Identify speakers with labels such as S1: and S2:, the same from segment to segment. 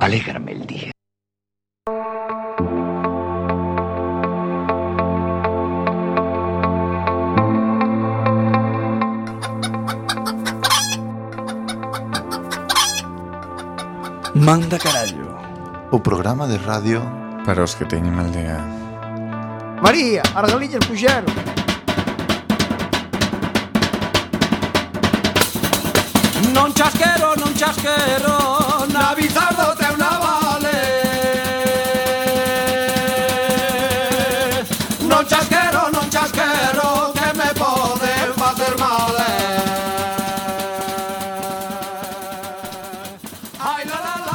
S1: alegrarme el día.
S2: Manda carallo.
S3: O programa de radio
S4: Para os que teñen mal día
S5: María, as galiñas puxeron.
S6: Non chasquero, non chasquero Na Bizardo trae una vale Non chasquero, non chasquero Que me pode facer mal eh. Ai, la, la, la.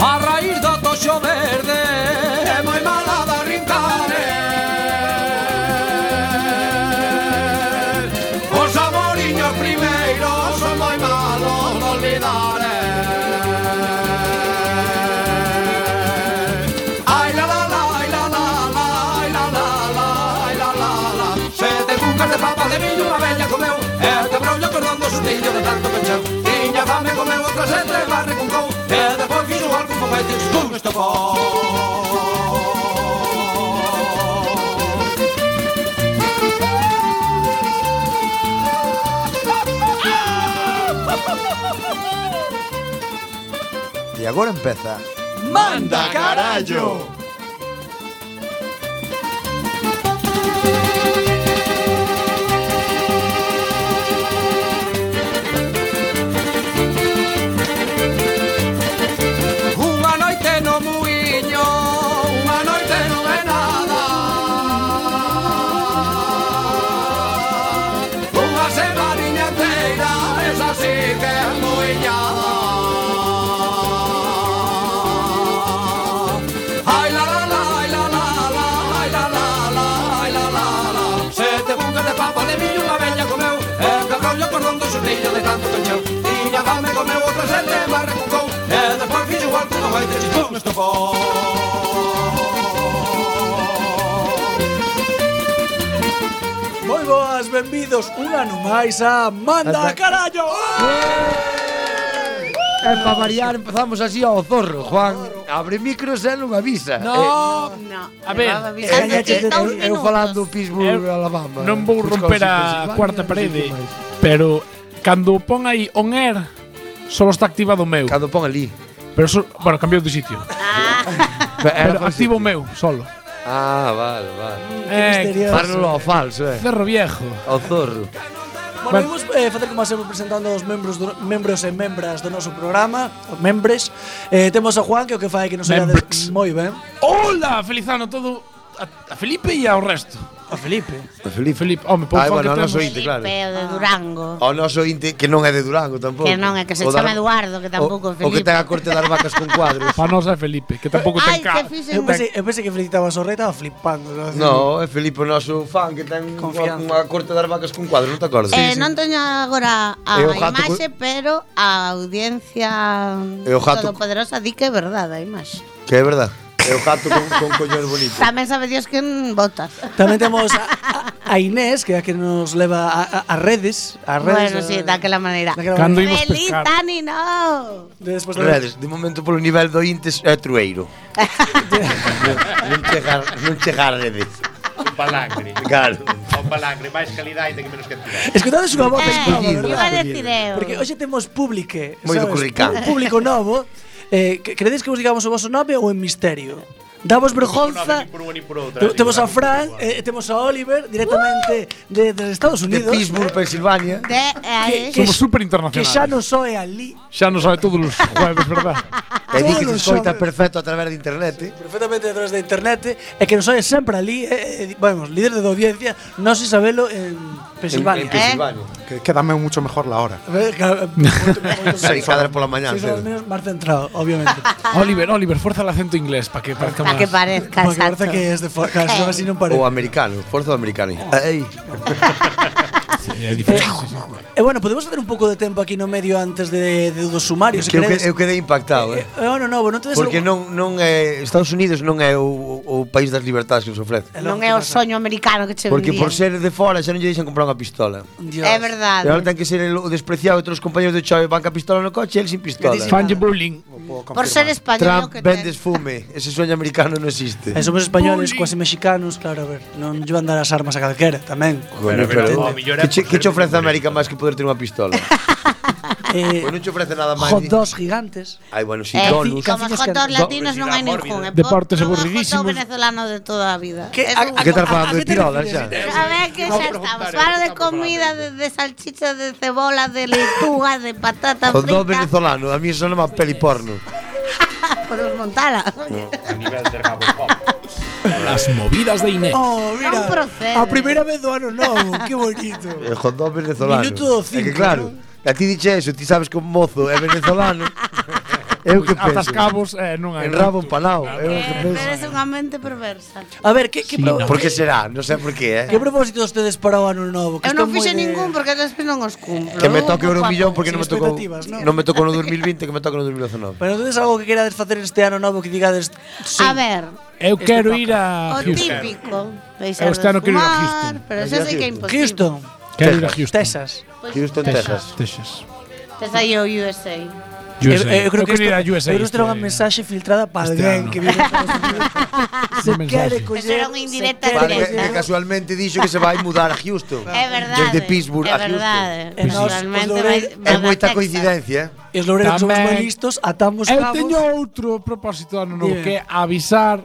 S6: A raíz do toxo verde É moi mala da rincare Os amoriños primeiros Son moi malos de olvidar eh. Ai la la la, ai la la la Ai la la la, ai la la la Sete cucas de papa de viño Unha veña comeu E te brollo perdón do sustillo de tanto pencheu Tiña fame comeu outra sete Barre con cou E depois fixo algún foguete Estou neste pó
S2: E agora empeza
S6: Manda carallo. Unha noite no muiño, unha noite non é nada. Unha semaninha inteira, esa sí que é muiñada. Ai la la la, ai la la la, ai la la la, ai la la la. Sete bucas de papa de miño unha veña comeu, e que rollo con rondo xurrillo de tanto cañeu. Tiña fame comeu outra sete, mas recucou, e despois fixo igual que non vai ter xipón neste pó.
S2: Moi boas, benvidos un ano máis a Manda Carallo
S5: E pa variar empezamos así ao zorro, Juan. Abre micros e non avisa.
S7: No,
S8: No.
S7: a ver,
S5: Eh,
S8: Antes
S5: eh,
S8: que
S5: eh,
S8: dous
S5: eu
S8: minutos.
S5: falando Pittsburgh,
S7: Eu
S5: Alabama.
S7: Eh,
S5: eh,
S7: non
S3: eh.
S7: vou romper a cuarta parede, pero cando pon aí on air, solo está activado o meu.
S5: Cando pon ali.
S7: Pero so, bueno, cambiou de sitio.
S3: Ah.
S7: Pero activo o meu, solo.
S5: Ah, vale, vale.
S7: Eh,
S5: Parlo ao falso, eh.
S7: cerro viejo.
S5: Ao zorro.
S2: Bueno, vamos eh, facer como sempre presentando os membros do, membros e membras do noso programa os Membres eh, Temos a Juan que o que fai é que nos
S7: Membres.
S2: ollades moi ben
S7: Hola, felizano todo a, a Felipe e ao resto.
S2: A Felipe
S3: de Felipe.
S7: Felipe, home, pon
S3: Ai,
S7: fan
S3: bueno,
S7: que
S3: non
S7: temos.
S3: soy- Ointe, claro.
S8: Felipe, o de Durango.
S3: Ao noso inte que non é de Durango tampouco.
S8: Que non, é que se
S3: Ah, O
S8: chama Eduardo, que tampouco é
S3: o,
S8: Felipe.
S3: O que ten a corte das vacas con cuadros.
S7: Para nós é Felipe, que tampouco
S8: Ai, que
S7: ten cara.
S8: fixen
S2: Eu pensei, eu pensei que felicitabas o rei, estaba flipando
S3: No, é Felipe o noso fan que ten
S2: Confianza.
S3: unha corte das vacas con cuadros, non te acordas?
S8: Eh, non teño agora a
S3: E o gato
S8: imaxe, pero a audiencia
S3: E o gato
S8: todopoderosa di que é verdade a imaxe.
S3: Que é verdade. É o gato con, con collar bonito.
S8: Tamén sabe Dios que en botas.
S2: Tamén temos a, a, a Inés que é a que nos leva a, a, a redes a redes
S8: Bueno,
S2: a-
S3: eh,
S8: sí, daquela maneira.
S2: daquela
S7: Cando
S2: maneira.
S7: imos
S8: Feliz
S7: pescar.
S8: Dani, no!
S2: Despois tamén-
S3: Redes, de momento polo nivel do Intes é trueiro. non, non chegar, non chegar a redes.
S9: Un palangre.
S3: Claro.
S9: Un palangre, máis calidade ten que menos cantidade.
S2: Escoitades unha voz escollida,
S8: Eh, iba a
S2: verdad?
S8: decir eu.
S2: Porque hoxe temos públique
S3: Moi do
S2: sabes?
S3: curricán.
S2: Un público novo Eh, que- credes que vos digamos o vosso nome ou en misterio? Damos
S9: Nove,
S2: vergonza.
S9: nin por unha, nin por outra.
S2: Te- Temos a
S9: Nin por unha, nin
S2: Fran,
S9: por outra.
S2: eh, temos a Oliver directamente de, de Estados
S3: De
S2: Unidos.
S3: Pittsburgh, Pensilvania.
S8: De, eh,
S2: Que-
S7: Somos super
S2: Que
S7: internacionales.
S2: xa non só é ali.
S7: Xa nos sabe todos os jueves, verdad?
S3: E di que
S2: Todos
S3: te escoita
S2: son-
S3: perfecto a través de internet. eh.
S2: perfectamente detrás da internet e que nos oe sempre ali, eh, eh, vamos, líder de audiencia, non sei sabelo en Pensilvania.
S8: Eh?
S2: Eh?
S3: En Pensilvania.
S1: Que, quédame mucho mejor la hora.
S2: A ver, ca- eh, moito- moito
S3: Seis
S2: máis.
S3: cadras pola mañá,
S2: Seis horas
S3: cedo.
S2: menos máis centrado, obviamente.
S7: Oliver, Oliver, forza el acento inglés para que parezca
S8: para
S7: más.
S8: Ah. que parezca,
S2: Porque parece
S8: exacto. Eh.
S2: que es de fora, casi así non parece.
S3: O americano, forza do americano. Ei,
S7: É diferente, sí, sí.
S2: E bueno, podemos hacer un pouco de tempo aquí no medio antes de, de dos sumarios, se
S3: que eu, que-
S2: queredes.
S3: eu quedei impactado, eh.
S2: Eh, oh, no, no, bueno, entonces
S3: Porque non non é Estados Unidos non é o, o país das libertades que nos ofrece.
S8: Non é o soño americano que che
S3: Porque
S8: vendían.
S3: por ser de fora xa non lle deixan comprar unha pistola.
S2: Dios.
S8: É
S3: E agora
S8: verdade.
S3: ten que ser el- o despreciado entre os compañeros de Chave van ca pistola no coche e el sin pistola.
S2: Dicen-
S7: Fan de bullying.
S8: Por ser español
S3: Trump
S8: que ten.
S3: vendes fume. Ese sueño americano non existe.
S2: E Eh, somos españoles, cuasi mexicanos, claro, a ver, non lle van dar as armas a calquera, tamén.
S9: Pero,
S3: Coño,
S9: pero,
S3: pero-
S9: o mellor é
S3: que che,
S9: por
S3: que
S9: ser
S3: che ofrece
S9: violento.
S3: América máis que poder ter unha pistola? Pues
S2: Eh,
S3: pois non che ofrece nada máis.
S2: hot dogs gigantes.
S3: Ai, bueno, si
S8: Eh,
S3: donuts.
S8: como os hot dogs
S2: Do-
S8: latinos non hai
S9: Obesidade
S8: ningún.
S9: mórbida.
S7: Deportes
S8: O
S7: aburridísimos.
S8: venezolano de toda a vida.
S2: Que-
S8: Es
S2: a-
S8: un-
S2: a-
S3: Que estás
S2: a- a- a
S3: falando de
S2: que te
S3: tirolas
S2: refires?
S3: xa?
S8: A ver, que
S9: Vamos
S8: xa
S9: a preguntar,
S8: estamos. Falo de
S9: estamos falando
S8: comida, de, de salchicha, de cebola, de leituga, de patata
S3: Hot dog
S8: frita.
S3: venezolano, a mí eso non má peli porno.
S8: Podemos montala.
S9: A nivel de Rabocop.
S7: Las movidas de Inés.
S2: Oh, mira,
S8: Non procede.
S2: a primeira vez do ano novo, que bonito.
S3: El hot dog venezolano.
S2: Minuto
S3: É que
S2: cinco,
S3: claro, a ti diche eso, ti sabes que un mozo é venezolano. eu que penso.
S7: Atascabos, Pues eh, non hai.
S3: En rabo empanado. Eu que
S8: Eres
S3: penso.
S8: unha mente perversa.
S2: Eh, A ver, que que, pro-
S3: Por que será? Non sei por que, eh.
S2: que propósitos tedes para o ano novo? Que
S8: Eu non
S2: están moi
S8: fixo
S2: de-
S8: ningún porque despois non os cumplo.
S3: Que
S8: Un
S3: me toque
S8: pouco
S3: euro
S8: a
S3: millón
S8: pouco.
S3: porque non me
S2: Sin
S3: tocou.
S2: expectativas, ¿no?
S3: Non me tocou no 2020, que me toca no 2019.
S2: Pero tedes algo que querades facer este ano novo que digades sí.
S8: A ver,
S7: Eu
S2: Este
S7: quero
S2: toca.
S7: ir a
S8: o
S7: Houston.
S8: típico.
S7: Eu este ano quero ir a Houston.
S8: Pero xa
S3: Quero ir a
S8: sei que é
S3: Houston.
S8: imposible.
S2: Houston,
S7: Quero ir a Houston.
S2: Texas.
S3: Houston, Texas.
S7: Texas.
S8: Tes aí o USA.
S7: USA.
S2: Eh, eh,
S7: Eu quero ir a
S2: isto-
S7: USA.
S2: Eu creo que isto era unha
S7: este-
S2: mensaxe filtrada para
S7: este
S2: alguén
S7: ano.
S2: que vive en Estados Unidos. Se
S7: Unha
S2: quere
S7: mensaxe.
S2: coller...
S8: Eso era unha indirecta
S2: se quere
S3: Vale,
S8: directa.
S2: coller-
S3: que casualmente dixo que se vai mudar a Houston.
S8: É verdade.
S3: Desde Pittsburgh
S8: é
S3: a Houston.
S8: verdade.
S2: E nós,
S8: Naturalmente
S2: os
S8: vai,
S2: loureiros-
S8: vai
S3: É
S8: a
S3: moita
S8: Texas.
S3: coincidencia.
S2: E
S3: ¿eh?
S2: os loureiros que somos
S7: Tamén.
S2: moi listos, atamos
S7: Eu
S2: cabos...
S7: teño outro propósito ano novo
S2: Dime.
S7: que é avisar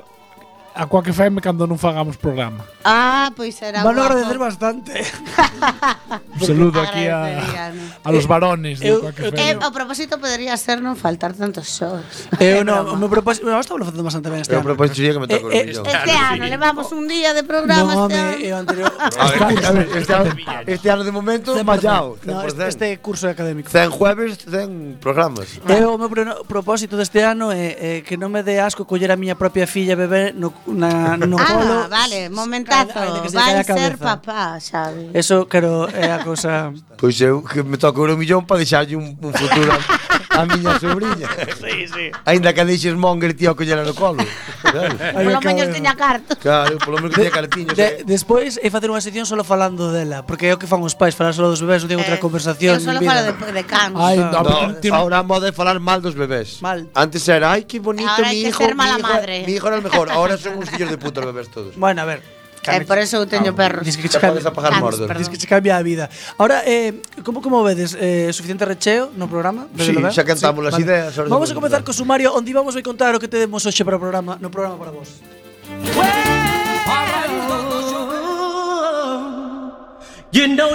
S7: a Quack FM cando non fagamos programa.
S8: Ah, pois será
S2: Van
S8: guapo.
S2: a agradecer bastante.
S7: Un saludo aquí a,
S8: Agradecerían.
S7: a los varones de
S2: eu-
S7: Quack
S2: eu
S7: FM.
S8: Eh, o propósito podería ser non faltar tantos shows.
S2: Eu non, o meu propósito... Bueno, estamos facendo bastante ben este
S3: Eu
S2: ano.
S3: proposto que me toque o
S2: Eh, eh,
S3: millón.
S8: Este
S9: Claro,
S8: ano
S9: sí.
S8: levamos un día de
S2: Non,
S8: programa este
S2: home, é o
S8: ano.
S2: anterior.
S3: A ver, a ver, este ano- Este ano de momento, mallao.
S2: No, este,
S3: 100%.
S2: este curso é académico.
S3: 100 jueves, 100 programas.
S8: Eh,
S2: Eu o meu prono- propósito deste ano é, é que non me dé asco coller a miña propia filla e beber no, na, no
S8: Ah,
S2: colo.
S8: vale, momentazo.
S2: Ainda que se lle
S8: Vai
S2: caia a
S8: ser
S2: cabeza.
S8: papá, Xavi.
S2: Eso, claro, é a cousa...
S3: Pois eu que me toca o millón para deixarlle un, un futuro a, a miña sobrinha.
S2: Sí, sí.
S3: Ainda que a deixes monger tío a collera no colo. Claro,
S8: Polo menos teña carta.
S3: claro polo menos que teña cartiños.
S2: De,
S3: De,
S2: despois é facer unha sección solo falando dela Porque é o que fan os pais, falar solo dos bebés Non ten outra
S8: Eh,
S2: conversación
S8: Eu solo
S2: en vida.
S8: falo de, de can.
S7: Ai,
S2: No,
S7: no,
S3: No,
S7: tiene-
S3: ahora a moda é falar mal dos bebés.
S2: Mal.
S3: Antes era, ai, que bonito,
S8: Ahora
S3: mi
S8: hai que
S3: hijo,
S8: ser
S3: mi
S8: mala
S3: hijo,
S8: madre."
S3: mi hijo era o mejor. Ahora son uns fillos de puta os bebés todos.
S2: Bueno, a ver
S8: Eh, por eso eu teño perros.
S2: Diz que che
S3: Xa podes
S2: cambia,
S3: apagar
S8: Cans,
S3: mordos.
S8: perdón.
S2: diz que che cambia a vida Ahora, eh, como, como vedes? Eh, suficiente recheo no programa?
S3: Sí,
S2: Vedelo ben?
S3: xa cantamos as ideas. ahora
S2: Vamos a
S3: devolvemos.
S2: comenzar co sumario onde íbamos a contar o que temos hoxe para o programa, no programa para vos.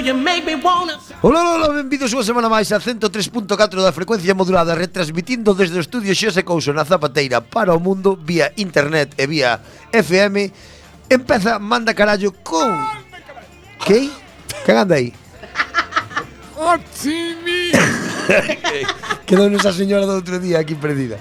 S3: Ola, ola, ola, benvidos unha semana máis a 103.4 da frecuencia modulada Retransmitindo desde o estudio Xose Couso na Zapateira para o mundo Vía internet e vía FM Empeza Manda Carallo con... Que? Que anda aí? Quedou nosa señora do outro día aquí perdida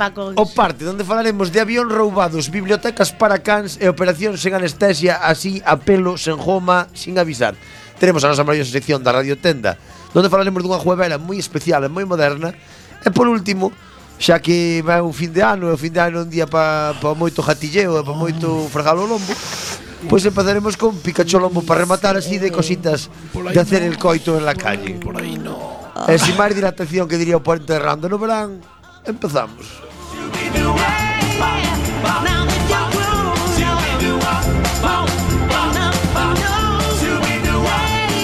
S8: Tenemos
S3: o parte onde falaremos de avión roubados, bibliotecas para cans e operacións sen anestesia, así a pelo, sen joma, sin avisar. Teremos a nosa maravillosa sección da Radio Tenda, onde falaremos dunha juevera moi especial e moi moderna. E por último, xa que vai un fin de ano, e o fin de ano é un día pa, pa moito jatilleo e pa moito fregalo o lombo, pois empezaremos con Pikachu Lombo para rematar así de cositas de hacer el coito en la calle. Por aí no. E sin máis dilatación que diría o puente de Rando no verán, empezamos.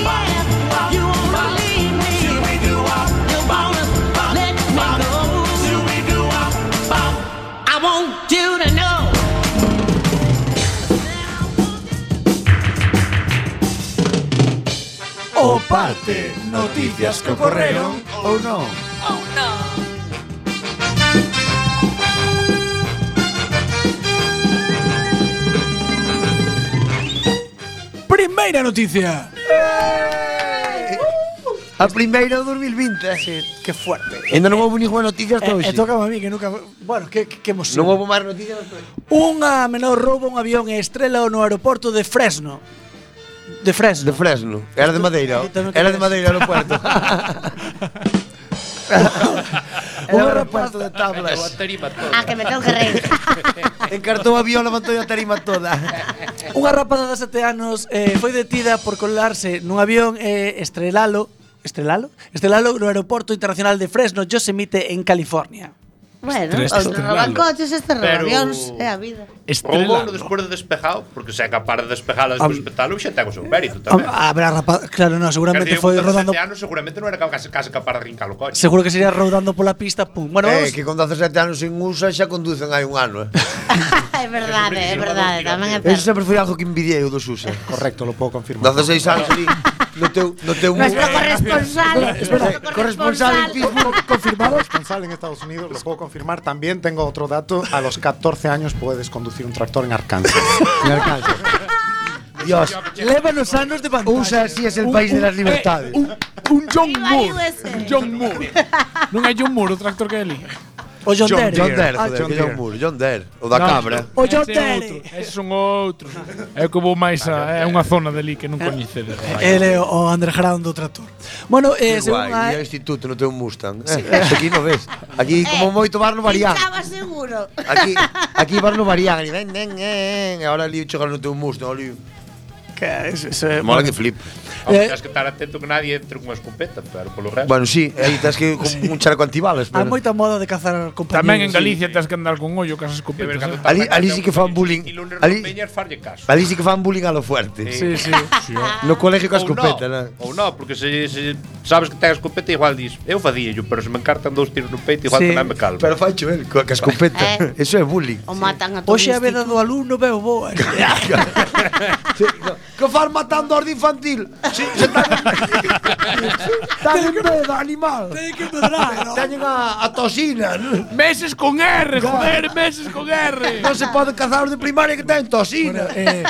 S6: I won't
S3: O parte, noticias que ocorreron ou non.
S2: Primeira noticia.
S3: Eh, A primeira do 2020. Sí.
S2: Que fuerte.
S3: Ainda non houve ninguna noticia hasta
S2: E, e
S3: hoxe.
S2: tocaba Eh, a mí que nunca Bueno, que, que, que hemos sido
S3: Non houve máis noticias hasta hoxe.
S2: Unha menor rouba un avión e estrela no aeroporto de Fresno De Fresno
S3: De Fresno. Era de Madeira.
S2: Isto non
S3: Era de
S2: queres.
S3: Madeira no puerto. Era o aeropuerto de
S9: Levou a
S3: tablas.
S9: tarima toda.
S8: Ah, que me tengo que reír.
S3: Encartou o avión, levantou a tarima toda.
S2: Unha rapaza de 7 anos eh, foi detida por colarse nun avión e estrelalo Estrelalo? Estrelalo no aeroporto internacional de Fresno, Yosemite, en California
S8: Bueno,
S7: Estrés
S8: os
S7: total.
S8: roban coches, este estes
S9: Pero-
S8: avións, é a eh, vida.
S7: Estrela.
S9: Roubouno despois de despejado, porque se é capaz de despejala despois do espectáculo, xa ten o seu mérito tamén.
S2: A, a ver, a rapaz, claro, no, ah, seguramente
S9: Quer
S2: foi
S9: dicir, un
S2: rodando
S9: 17 anos seguramente non era case, case capaz de rincar o coche.
S2: Seguro que sería rodando pola pista, pum Bueno,
S3: Eh,
S2: vamos,
S3: que con 17 anos sin usa xa conducen hai un ano, eh.
S8: é verdade, é verdade, tamén é
S3: Eso
S8: verdade.
S3: sempre foi algo que envidiei o dos usa.
S1: Correcto, lo puedo confirmar.
S3: 16 anos ali, no teu, no teu
S8: Nuestro corresponsal, nuestro
S3: corresponsal en
S8: corresponsal.
S3: Pittsburgh.
S1: Confirmado responsable en Estados Unidos, lo puedo confirmar. También tengo otro dato. A los 14 años puedes conducir un tractor en Arkansas. Pues,
S3: Dios,
S2: leva nos anos de vantaxe
S5: Usa así es el país de las libertades.
S7: Un, un John
S8: Viva
S7: Moore.
S8: USA.
S7: Un John Moore. non é John Moore o tractor que ele.
S2: O John,
S1: John
S2: Terry
S3: John Deere,
S2: Ah,
S3: joder,
S1: John
S3: que John
S1: Deere.
S3: Moore, John Deere, o da cabra.
S2: O John
S7: Ese é
S2: Terry
S7: outro, Ese son outro. É o que vou máis a, é unha zona deli que non
S2: Eh,
S7: coñecedes.
S2: Ele é o underground do tractor Bueno, eh,
S3: Que
S2: según
S3: guai,
S2: a,
S3: e ao instituto no teu Mustang. Eh, aquí non ves. Aquí como moito bar no varián.
S8: Estaba Eh, seguro.
S3: Aquí, aquí bar no varián, ali ven, ven, ven. E Ahora ali chegar no teu
S1: pues,
S3: Mustang, ali.
S2: Que es, es, eh,
S3: Mola que flip.
S2: Eh,
S9: Aunque tens que estar atento que nadie entre cunha escopeta, pero polo resto.
S3: Bueno, sí, aí tens que ir con un chaleco antibalas,
S2: Hai
S3: pero.
S2: moita moda de cazar compañeros.
S7: Tamén en Galicia tens que andar con ollo casas
S9: Que
S7: escopetas.
S9: ver, cando
S7: eh.
S9: tarda
S3: Ali-
S9: case
S3: ali
S9: un
S3: sí que fan
S9: coche,
S3: bullying.
S9: Y lunes
S3: Ali-
S9: non peñas farlle caso.
S3: Ali sí que fan bullying a lo fuerte.
S7: Sí, sí. sí.
S3: No colegio coa escopeta,
S9: no,
S3: na.
S9: Ou non, porque se, se sabes que ten a escopeta igual dis, eu fadíllo, pero se me encartan dous tiros no peito igual
S2: Sí.
S9: tamén me calmo.
S3: Pero facho el coa coa escopeta. Eso é bullying.
S8: O matan a todo
S2: Hoxe a veda do alumno veo boa.
S3: Que fan matando aos de infantil? Sí, se están Están en veda, animal.
S2: Ten que medrar, ¿no?
S3: Teñen a, a toxina. Non
S7: Meses con R, joder, meses con R.
S3: Non se pode cazar os de primaria que ten toxina.
S2: Eh,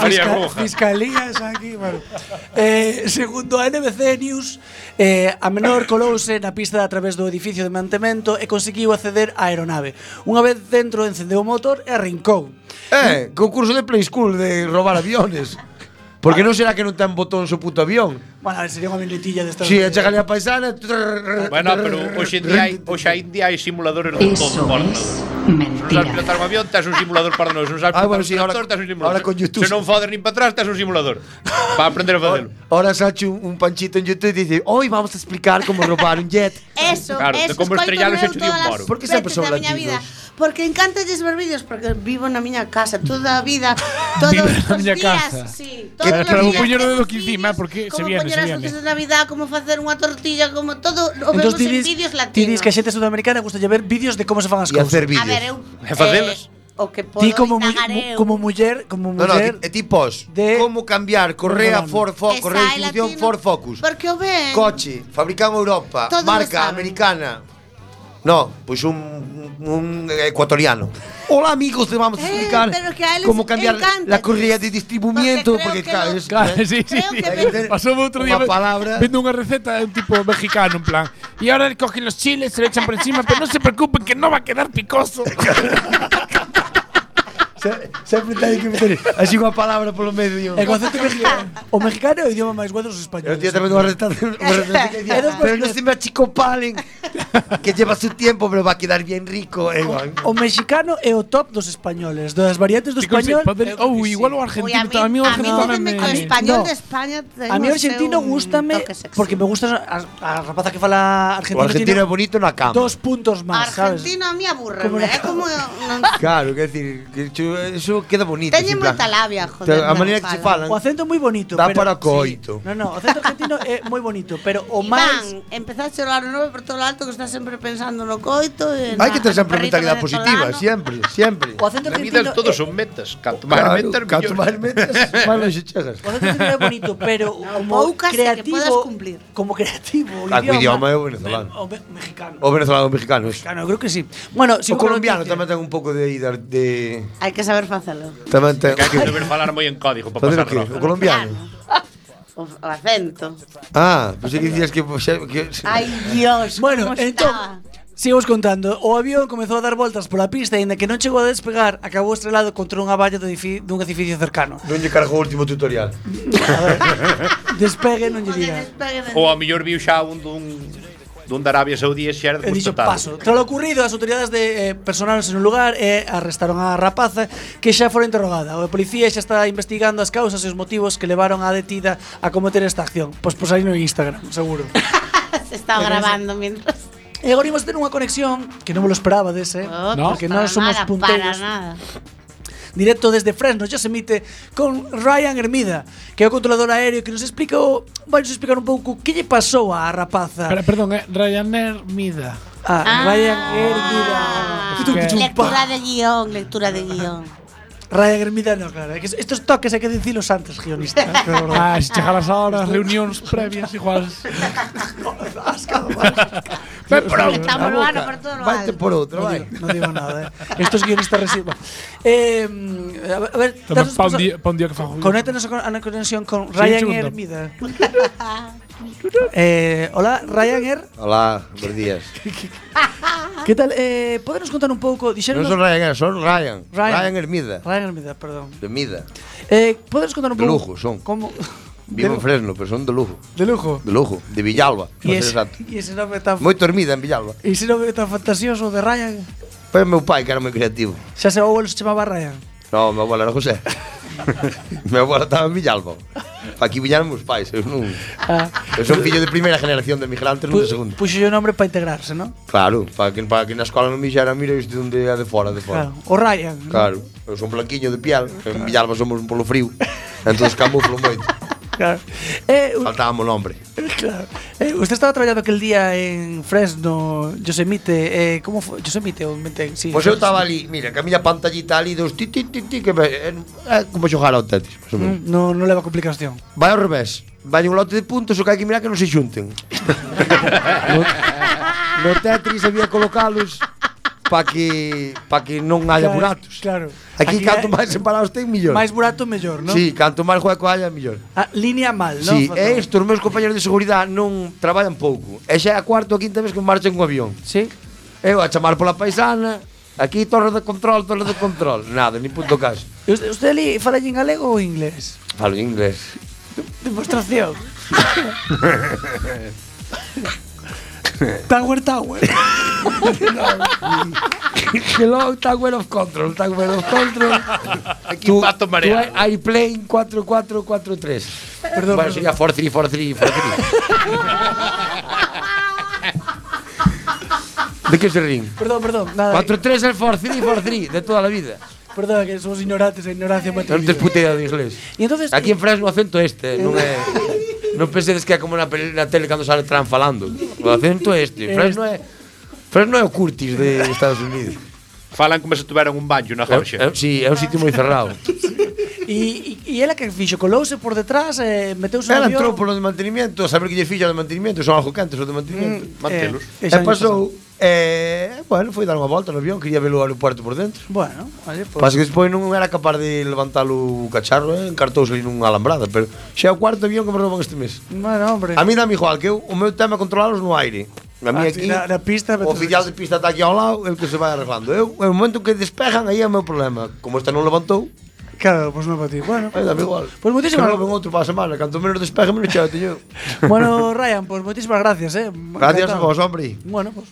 S9: María
S2: fisca-
S9: Roja.
S2: fiscalías aquí, bueno. Eh, segundo a NBC News, eh, a menor colouse na pista a través do edificio de mantemento e conseguiu acceder á aeronave. Unha vez dentro encendeu o motor e arrincou.
S3: Eh, concurso de Play School de robar aviones. Porque non será que non ten botón o puto avión.
S2: Bueno, a ver, sería unha minutilla destas.
S3: Si, sí, achégale a paisana.
S9: Bueno, pero hoxe en día hai, hoxe en día hai simuladores de todo por Se non sabes pilotar un avión, tes un simulador para nós. Se non sabes
S3: Ah,
S9: pilotar un
S3: bueno, sí, ahora-
S9: tractor, tes un simulador.
S3: ahora con YouTube.
S9: Se non fodes nin para atrás, tes un simulador. Para aprender a facelo.
S3: Ahora Sacho un, un panchito en YouTube e dice Hoy vamos a explicar como robar un jet.
S8: Eso,
S9: Claro,
S8: eso,
S9: de como
S8: escoito
S9: estrellar o
S8: eu
S9: xeito de un
S8: todas
S9: moro.
S8: as
S3: Por que sempre
S8: veces
S3: son
S8: da miña
S3: latinos?
S8: vida. Porque encántalles ver vídeos, porque vivo na miña casa toda a vida, todos
S7: Vives na
S8: os
S7: miña
S8: días.
S7: casa.
S8: Sí,
S7: Que-
S8: todos os
S7: pero vou
S8: días,
S7: poñer o dedo
S8: esos
S7: aquí
S8: vídeos,
S7: encima, porque se
S8: como
S7: viene,
S8: poñer
S7: se
S8: as
S7: viene.
S8: luces de Navidad, como facer unha tortilla, como todo, o
S2: Entón,
S8: vemos
S2: ti
S8: en
S2: dis,
S8: vídeos
S2: ti dis
S8: latinos.
S2: que a xente sudamericana gusta ver vídeos de como se fan as
S3: E
S2: cousas.
S8: A
S3: hacer
S8: ver,
S3: vídeos.
S8: eu...
S9: E facelas.
S8: eh, O que podo
S2: Ti como, mu
S8: indagar eu.
S2: como muller, como
S3: No, no,
S2: muller,
S3: ti- e ti pos
S2: de-
S3: Como cambiar correa
S2: Rolando.
S3: Ford
S8: Que
S3: Focus Correa de
S8: sae
S3: distribución
S8: latino,
S3: Ford Focus
S8: Porque o ven.
S3: Coche Fabricado en Europa
S8: Todos lo
S3: Marca
S8: saben.
S3: americana No, pois un, un, un ecuatoriano Hola amigos, te vamos a
S8: Eh,
S3: explicar
S8: pero que a él
S3: Cómo
S8: les
S3: cambiar
S8: encanta.
S3: la correa de distribuimiento
S8: Porque creo que
S3: Porque, claro,
S8: lo-
S3: es-
S7: Claro, sí, sí.
S8: Creo que
S3: Hay
S8: me-
S3: que tener
S7: Pasó otro día
S3: Una
S7: ve-
S3: palabra
S7: viendo una receta de un tipo mexicano, en plan. Y ahora cogen los chiles, se lo echan por encima, pero no se preocupen que no va a quedar picoso.
S3: Se- Sempre ten que meter Así unha palabra polo medio
S2: E o concepto mexicano, o mexicano é o idioma máis bueno dos
S3: Eu
S2: españoles.
S3: tío tamén unha receta unha receta que decía,
S2: Hay dos
S3: Pero no se me achicopalen Que lleva su tiempo Pero va a quedar bien rico eh, guau.
S2: O mexicano é o top dos españoles, das variantes do
S7: Chicos, sí,
S2: español.
S7: poder- oh, igual o
S8: Uy,
S7: argentino. A mí o
S8: a mí
S7: argentino
S8: dime
S7: me-
S8: que o español
S2: No.
S8: de España
S2: A mí o argentino gustame porque me gusta a, a rapaza que fala
S3: O
S2: argentino.
S3: argentino
S2: tiene
S3: é bonito na cama
S2: dos puntos máis, sabes?
S8: Argentino a mí aburre,
S2: Como
S8: é
S2: la-
S8: como non
S3: Claro, quer decir, que cho- eso queda bonito.
S8: teñen
S3: sin plan.
S8: moita labia, joder.
S3: a maneira que se falan.
S2: O acento é moi bonito,
S3: Dá
S2: pero
S3: para
S2: sí.
S3: coito.
S2: No, no, o acento argentino é moi bonito, pero o
S8: O máis
S2: máis
S8: empezar a chorar o nome por todo o alto que está sempre pensando no coito e
S3: Hai
S8: na-
S3: que ter
S8: no
S3: sempre
S8: perrito
S3: mentalidade positiva,
S8: venezolano.
S3: sempre, sempre.
S10: O acento
S9: Na vida
S10: argentino
S9: todos
S10: é,
S9: son metas. Canto máis
S3: Claro,
S9: metas,
S3: canto
S9: mellor.
S3: máis metas, máis longe chegas.
S10: o acento argentino é bonito, pero como
S8: poucas que
S10: creativo,
S8: podas cumplir.
S2: Como creativo, o idioma,
S3: Ah, o idioma é o venezolano.
S2: O me- mexicano.
S3: O venezolano, o mexicano, eso.
S2: Claro, eu creo que sí. Bueno,
S3: O
S2: sigo con
S3: colombiano
S2: noticia.
S3: tamén ten un pouco de ida de
S8: Hai que saber facelo.
S3: tamén ten.
S9: Que hai que saber falar moi en código para
S3: Facer
S9: pasar
S3: o qué? O
S9: rojo.
S3: colombiano.
S8: O, o acento.
S3: Ah, pensei que dicías que xa- que
S8: Ai, Dios,
S2: Bueno,
S8: como
S2: entón,
S8: está.
S2: sigamos contando. O avión comezou a dar voltas pola pista e aínda que non chegou a despegar, acabou estrelado contra unha valla do edifi- dun edificio cercano.
S3: non lle cargou o último tutorial.
S2: Despegue non lle
S8: Joder,
S2: diga.
S8: despeguen.
S9: Ou a mellor viu xa un dun dun da Arabia Saudí e pois xa era
S2: E dixo
S9: desconstatado.
S2: paso. Tras lo ocurrido, as autoridades de eh, personaronse nun lugar e arrestaron a rapaza que xa fora interrogada. O policía xa está investigando as causas e os motivos que levaron a detida a cometer esta acción. Pois pois aí no Instagram, seguro.
S8: Se está grabando mientras.
S2: e agora imos ter unha conexión que non me lo esperaba dese.
S8: Oh,
S7: No.
S8: pues
S2: Que
S8: para
S2: non somos
S8: nada,
S2: punteiros.
S8: Para nada.
S2: directo desde Fresno, Yosemite, con Ryan Hermida, que é o controlador aéreo que nos explicou, vai nos explicar un pouco que lle pasou á rapaza.
S7: Pero, perdón, eh, Ryanair Mida.
S2: A
S8: Ah.
S2: Ryan Hermida. Tum,
S7: que-
S2: tum, pa.
S8: Lectura de guión, lectura de guión.
S2: Ryan Hermida, no, claro, é que estos toques hai que dicilos antes, guionista.
S7: Ah, se chegaras ahora as reunións previas igual. Ven por aí.
S8: Estamos no ano por todo lo alto.
S3: Vaite por outra,
S2: No
S3: vai.
S2: digo, no digo nada, eh. Estos guionistas residuos. Eh, mm, a ver, a ver
S7: Tamén
S2: danos
S7: pa un
S2: paso-
S7: día, pa un día que fago.
S2: Conéctanos a con- a una conexión con
S7: Sí,
S2: Ryan
S7: segundo.
S2: Hermida. Eh, hola, Ryan Her.
S3: Olá, bons días.
S2: ¿Qué tal? Eh, ¿Podemos contar un pouco?
S3: Non
S2: Dixeron
S3: son Ryan, son Ryan.
S2: Ryan.
S3: Ryan Hermida.
S2: Ryan Hermida, perdón.
S3: De Mida.
S2: Eh, ¿Podes contar un
S3: De
S2: pouco?
S3: lujo, son.
S2: Como
S3: Vivo en Fresno, pero son de lujo.
S2: de lujo.
S3: De lujo, de Villalba.
S2: E
S3: para ser
S2: ese,
S3: exacto.
S2: e ese nome tan
S3: Moito Hermida en Villalba.
S2: e ese nome tan fantasioso de Ryan.
S3: Foi meu pai que era moi creativo.
S2: Xa se o abuelo se chamaba Ryan.
S3: No, meu abuelo era José. meu abuelo estaba en Villalba. Pa aquí viñaron meus pais, eu non.
S2: Ah,
S3: Eu son fillo de primeira generación de migrantes, non de segunda.
S2: puxo o nombre para integrarse, ¿no?
S3: Claro, para que, para que na escola non me xera, mira, isto é un día de fora, de fora.
S2: Claro. O Ryan. ¿no?
S3: Claro, eu son blanquiño de piel, en Villalba somos un polo frío, entón camuflo moito.
S2: Claro. Eh, u-
S3: Faltábamos nombre.
S2: claro. Eh, usted estaba traballando aquel día en Fresno, Yosemite, eh, como foi? Yosemite, ou mente, sí.
S3: Pois eu Pues estaba ali, mira, que a miña pantallita ali dos ti ti ti ti que me, eh, eh, como xogar ao Tetris, máis ou menos.
S2: Mm, No, no leva complicación.
S3: Vai ao revés. Vai un lote de puntos, o que hai que mirar que non se xunten. no, no Tetris había colocalos para que pa que non haya
S2: Claro,
S3: buratos.
S2: claro.
S3: Aquí,
S2: Aquí
S3: canto
S2: é-
S3: máis separados ten mellor.
S2: Máis burato, mellor, ¿no?
S3: Sí, canto máis hueco haya mellor.
S2: Ah, línea mal, ¿no?
S3: Sí,
S2: Fatal.
S3: e isto, os meus compañeros de seguridade non traballan pouco. E xa é a cuarta ou quinta vez que marchan con avión.
S2: Sí.
S3: Eu a chamar pola paisana, aquí torre de control, torre de control. Nada, ni punto caso.
S2: E Usted, usted ali fala en galego ou inglés?
S3: Falo inglés.
S2: Demostración.
S8: Eh.
S2: Tower Tower.
S5: Hello, Tower of Control, Tower of Control.
S9: Aquí pato mareado.
S5: Airplane 4443.
S2: Perdón.
S3: bueno, sería 4-3, 4-3, 4-3. De que se rin?
S2: Perdón, perdón. Nada.
S3: 4-3 é 4-3, 4-3, de toda a vida.
S2: Perdón, que somos ignorantes, a ignorancia
S9: Eh.
S2: mata
S3: Non
S2: a
S3: tes
S2: vida.
S3: puta idea de inglés.
S2: E entonces eh,
S3: Aquí en Fresno o acento é este, non é... Non pensedes que é como na, peli- na tele cando sale Trump falando. O acento é este.
S2: Eh,
S3: Fresno é... Fresno é o Curtis de Estados Unidos.
S9: Falan como se tuveran un baño na
S3: É,
S9: Jorxa.
S3: é, sí, é un sitio moi cerrado.
S2: e e- e ela que fixo colouse por detrás, eh, meteuse no
S3: Ela
S2: avión.
S3: entrou polo de mantenimiento, a saber que lle fixo de mantenimiento, son algo cantos os de mantenimiento.
S2: Mm, eh,
S9: Mantelos.
S2: e
S3: E
S2: xa
S3: pasou, eh, bueno, foi dar unha volta no avión, quería ver o aeropuerto por dentro.
S2: Bueno, vale, pues.
S3: Pasa que despois non era capaz de levantar o cacharro, eh, encartouse ali nunha alambrada, pero xa é o cuarto avión que me rouban este mes.
S2: Bueno, hombre.
S3: A mí dame igual, que eu, o meu tema é controlalos no aire. A
S2: Ah,
S3: mí aquí,
S2: sí, na- na pista,
S3: o oficial de pista está aquí ao lado, el que se vai arreglando. Eu, en o momento que despejan, aí é o meu problema. Como esta non levantou,
S2: Claro, pues non para ti. Bueno. Pues
S3: aí dame igual.
S2: Pois moitísimas
S3: Que rouben outro para a semana, canto menos despejan, menos chave teño.
S2: Bueno, Ryan, pues moitísimas gracias, eh.
S3: Gracias a
S2: Encantado.
S3: vos, hombre.
S2: Bueno, pues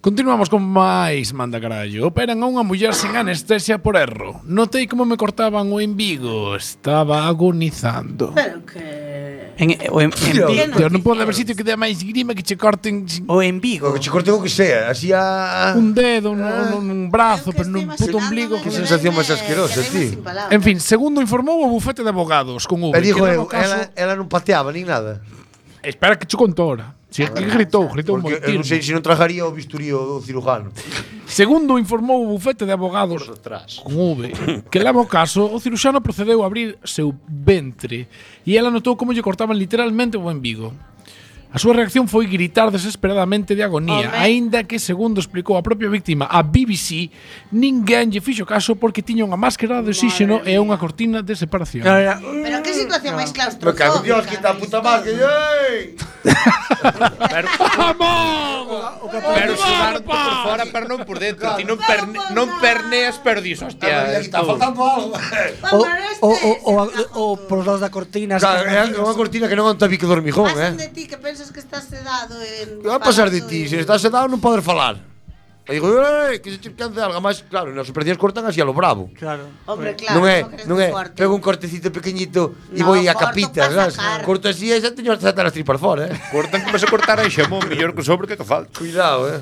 S7: Continuamos con máis manda carallo. Operan a unha muller sen anestesia por erro. Notei como me cortaban o embigo. Estaba agonizando.
S8: Pero que.
S2: en, o em, en, en,
S8: Que
S2: Vigo-
S8: no
S7: Dios, non
S8: te
S7: pode haber
S8: quiero.
S7: sitio que dea máis grima que che corten sin-
S2: o en Vigo.
S3: O que che corten o que sea, así a... Ah.
S7: un dedo, un, un, un brazo,
S8: Eu que
S7: pero nun
S8: estoy
S7: puto
S8: imaginándome
S7: ombligo.
S8: que
S3: Qué
S8: quedarme-
S3: sensación más asquerosa,
S8: quedarme
S3: tío.
S8: sin palabras.
S7: En fin, segundo informou o bufete de abogados con V.
S3: E digo
S7: que daba
S3: eu,
S7: o caso-
S3: ela, ela non pateaba nin nada.
S7: Espera que che conto ahora. Si é que gritou, gritou moi
S3: Porque eu non sei se non trajaría o bisturí o cirujano.
S7: Segundo informou o bufete de abogados con V, que leva o caso, o cirurxano procedeu a abrir seu ventre e ela notou como lle cortaban literalmente o embigo. A súa reacción foi gritar desesperadamente de agonía,
S11: Home.
S7: aínda que, segundo explicou a propia víctima a BBC, ninguén lle fixo caso porque tiña unha máscara de oxígeno e unha cortina de separación.
S8: Pero que situación máis
S3: Me
S8: claustrofóbica.
S3: cago en Dios, quita a puta madre. ¡Ey!
S9: Pero sudaron por fora, pero non por dentro. Ti non, perne, non perneas, pero dis, hostia,
S3: Está faltando algo.
S2: O, o, o, o, o, o por los da cortina.
S3: Claro, eh, é unha cortina que non aguanta bico dormijón, eh.
S8: de ti que pensas que estás sedado en...
S3: Que vai pasar de ti? Se estás sedado non podes falar. E digo, "Ei, que se che canse algo máis, claro, nas operacións cortan así a lo bravo.
S2: Claro.
S8: Hombre, claro,
S3: non é,
S8: crees
S3: non
S8: que
S3: é.
S8: corte.
S3: Pego un cortecito pequeñito e
S8: No,
S3: vou a
S8: corto
S3: capita,
S8: pa
S3: sabes?
S8: sacar.
S3: Corto así e xa teño as as tripas fora, eh.
S9: Cortan como se cortara e xamón, mellor que sobre que que falta.
S3: Cuidado, eh.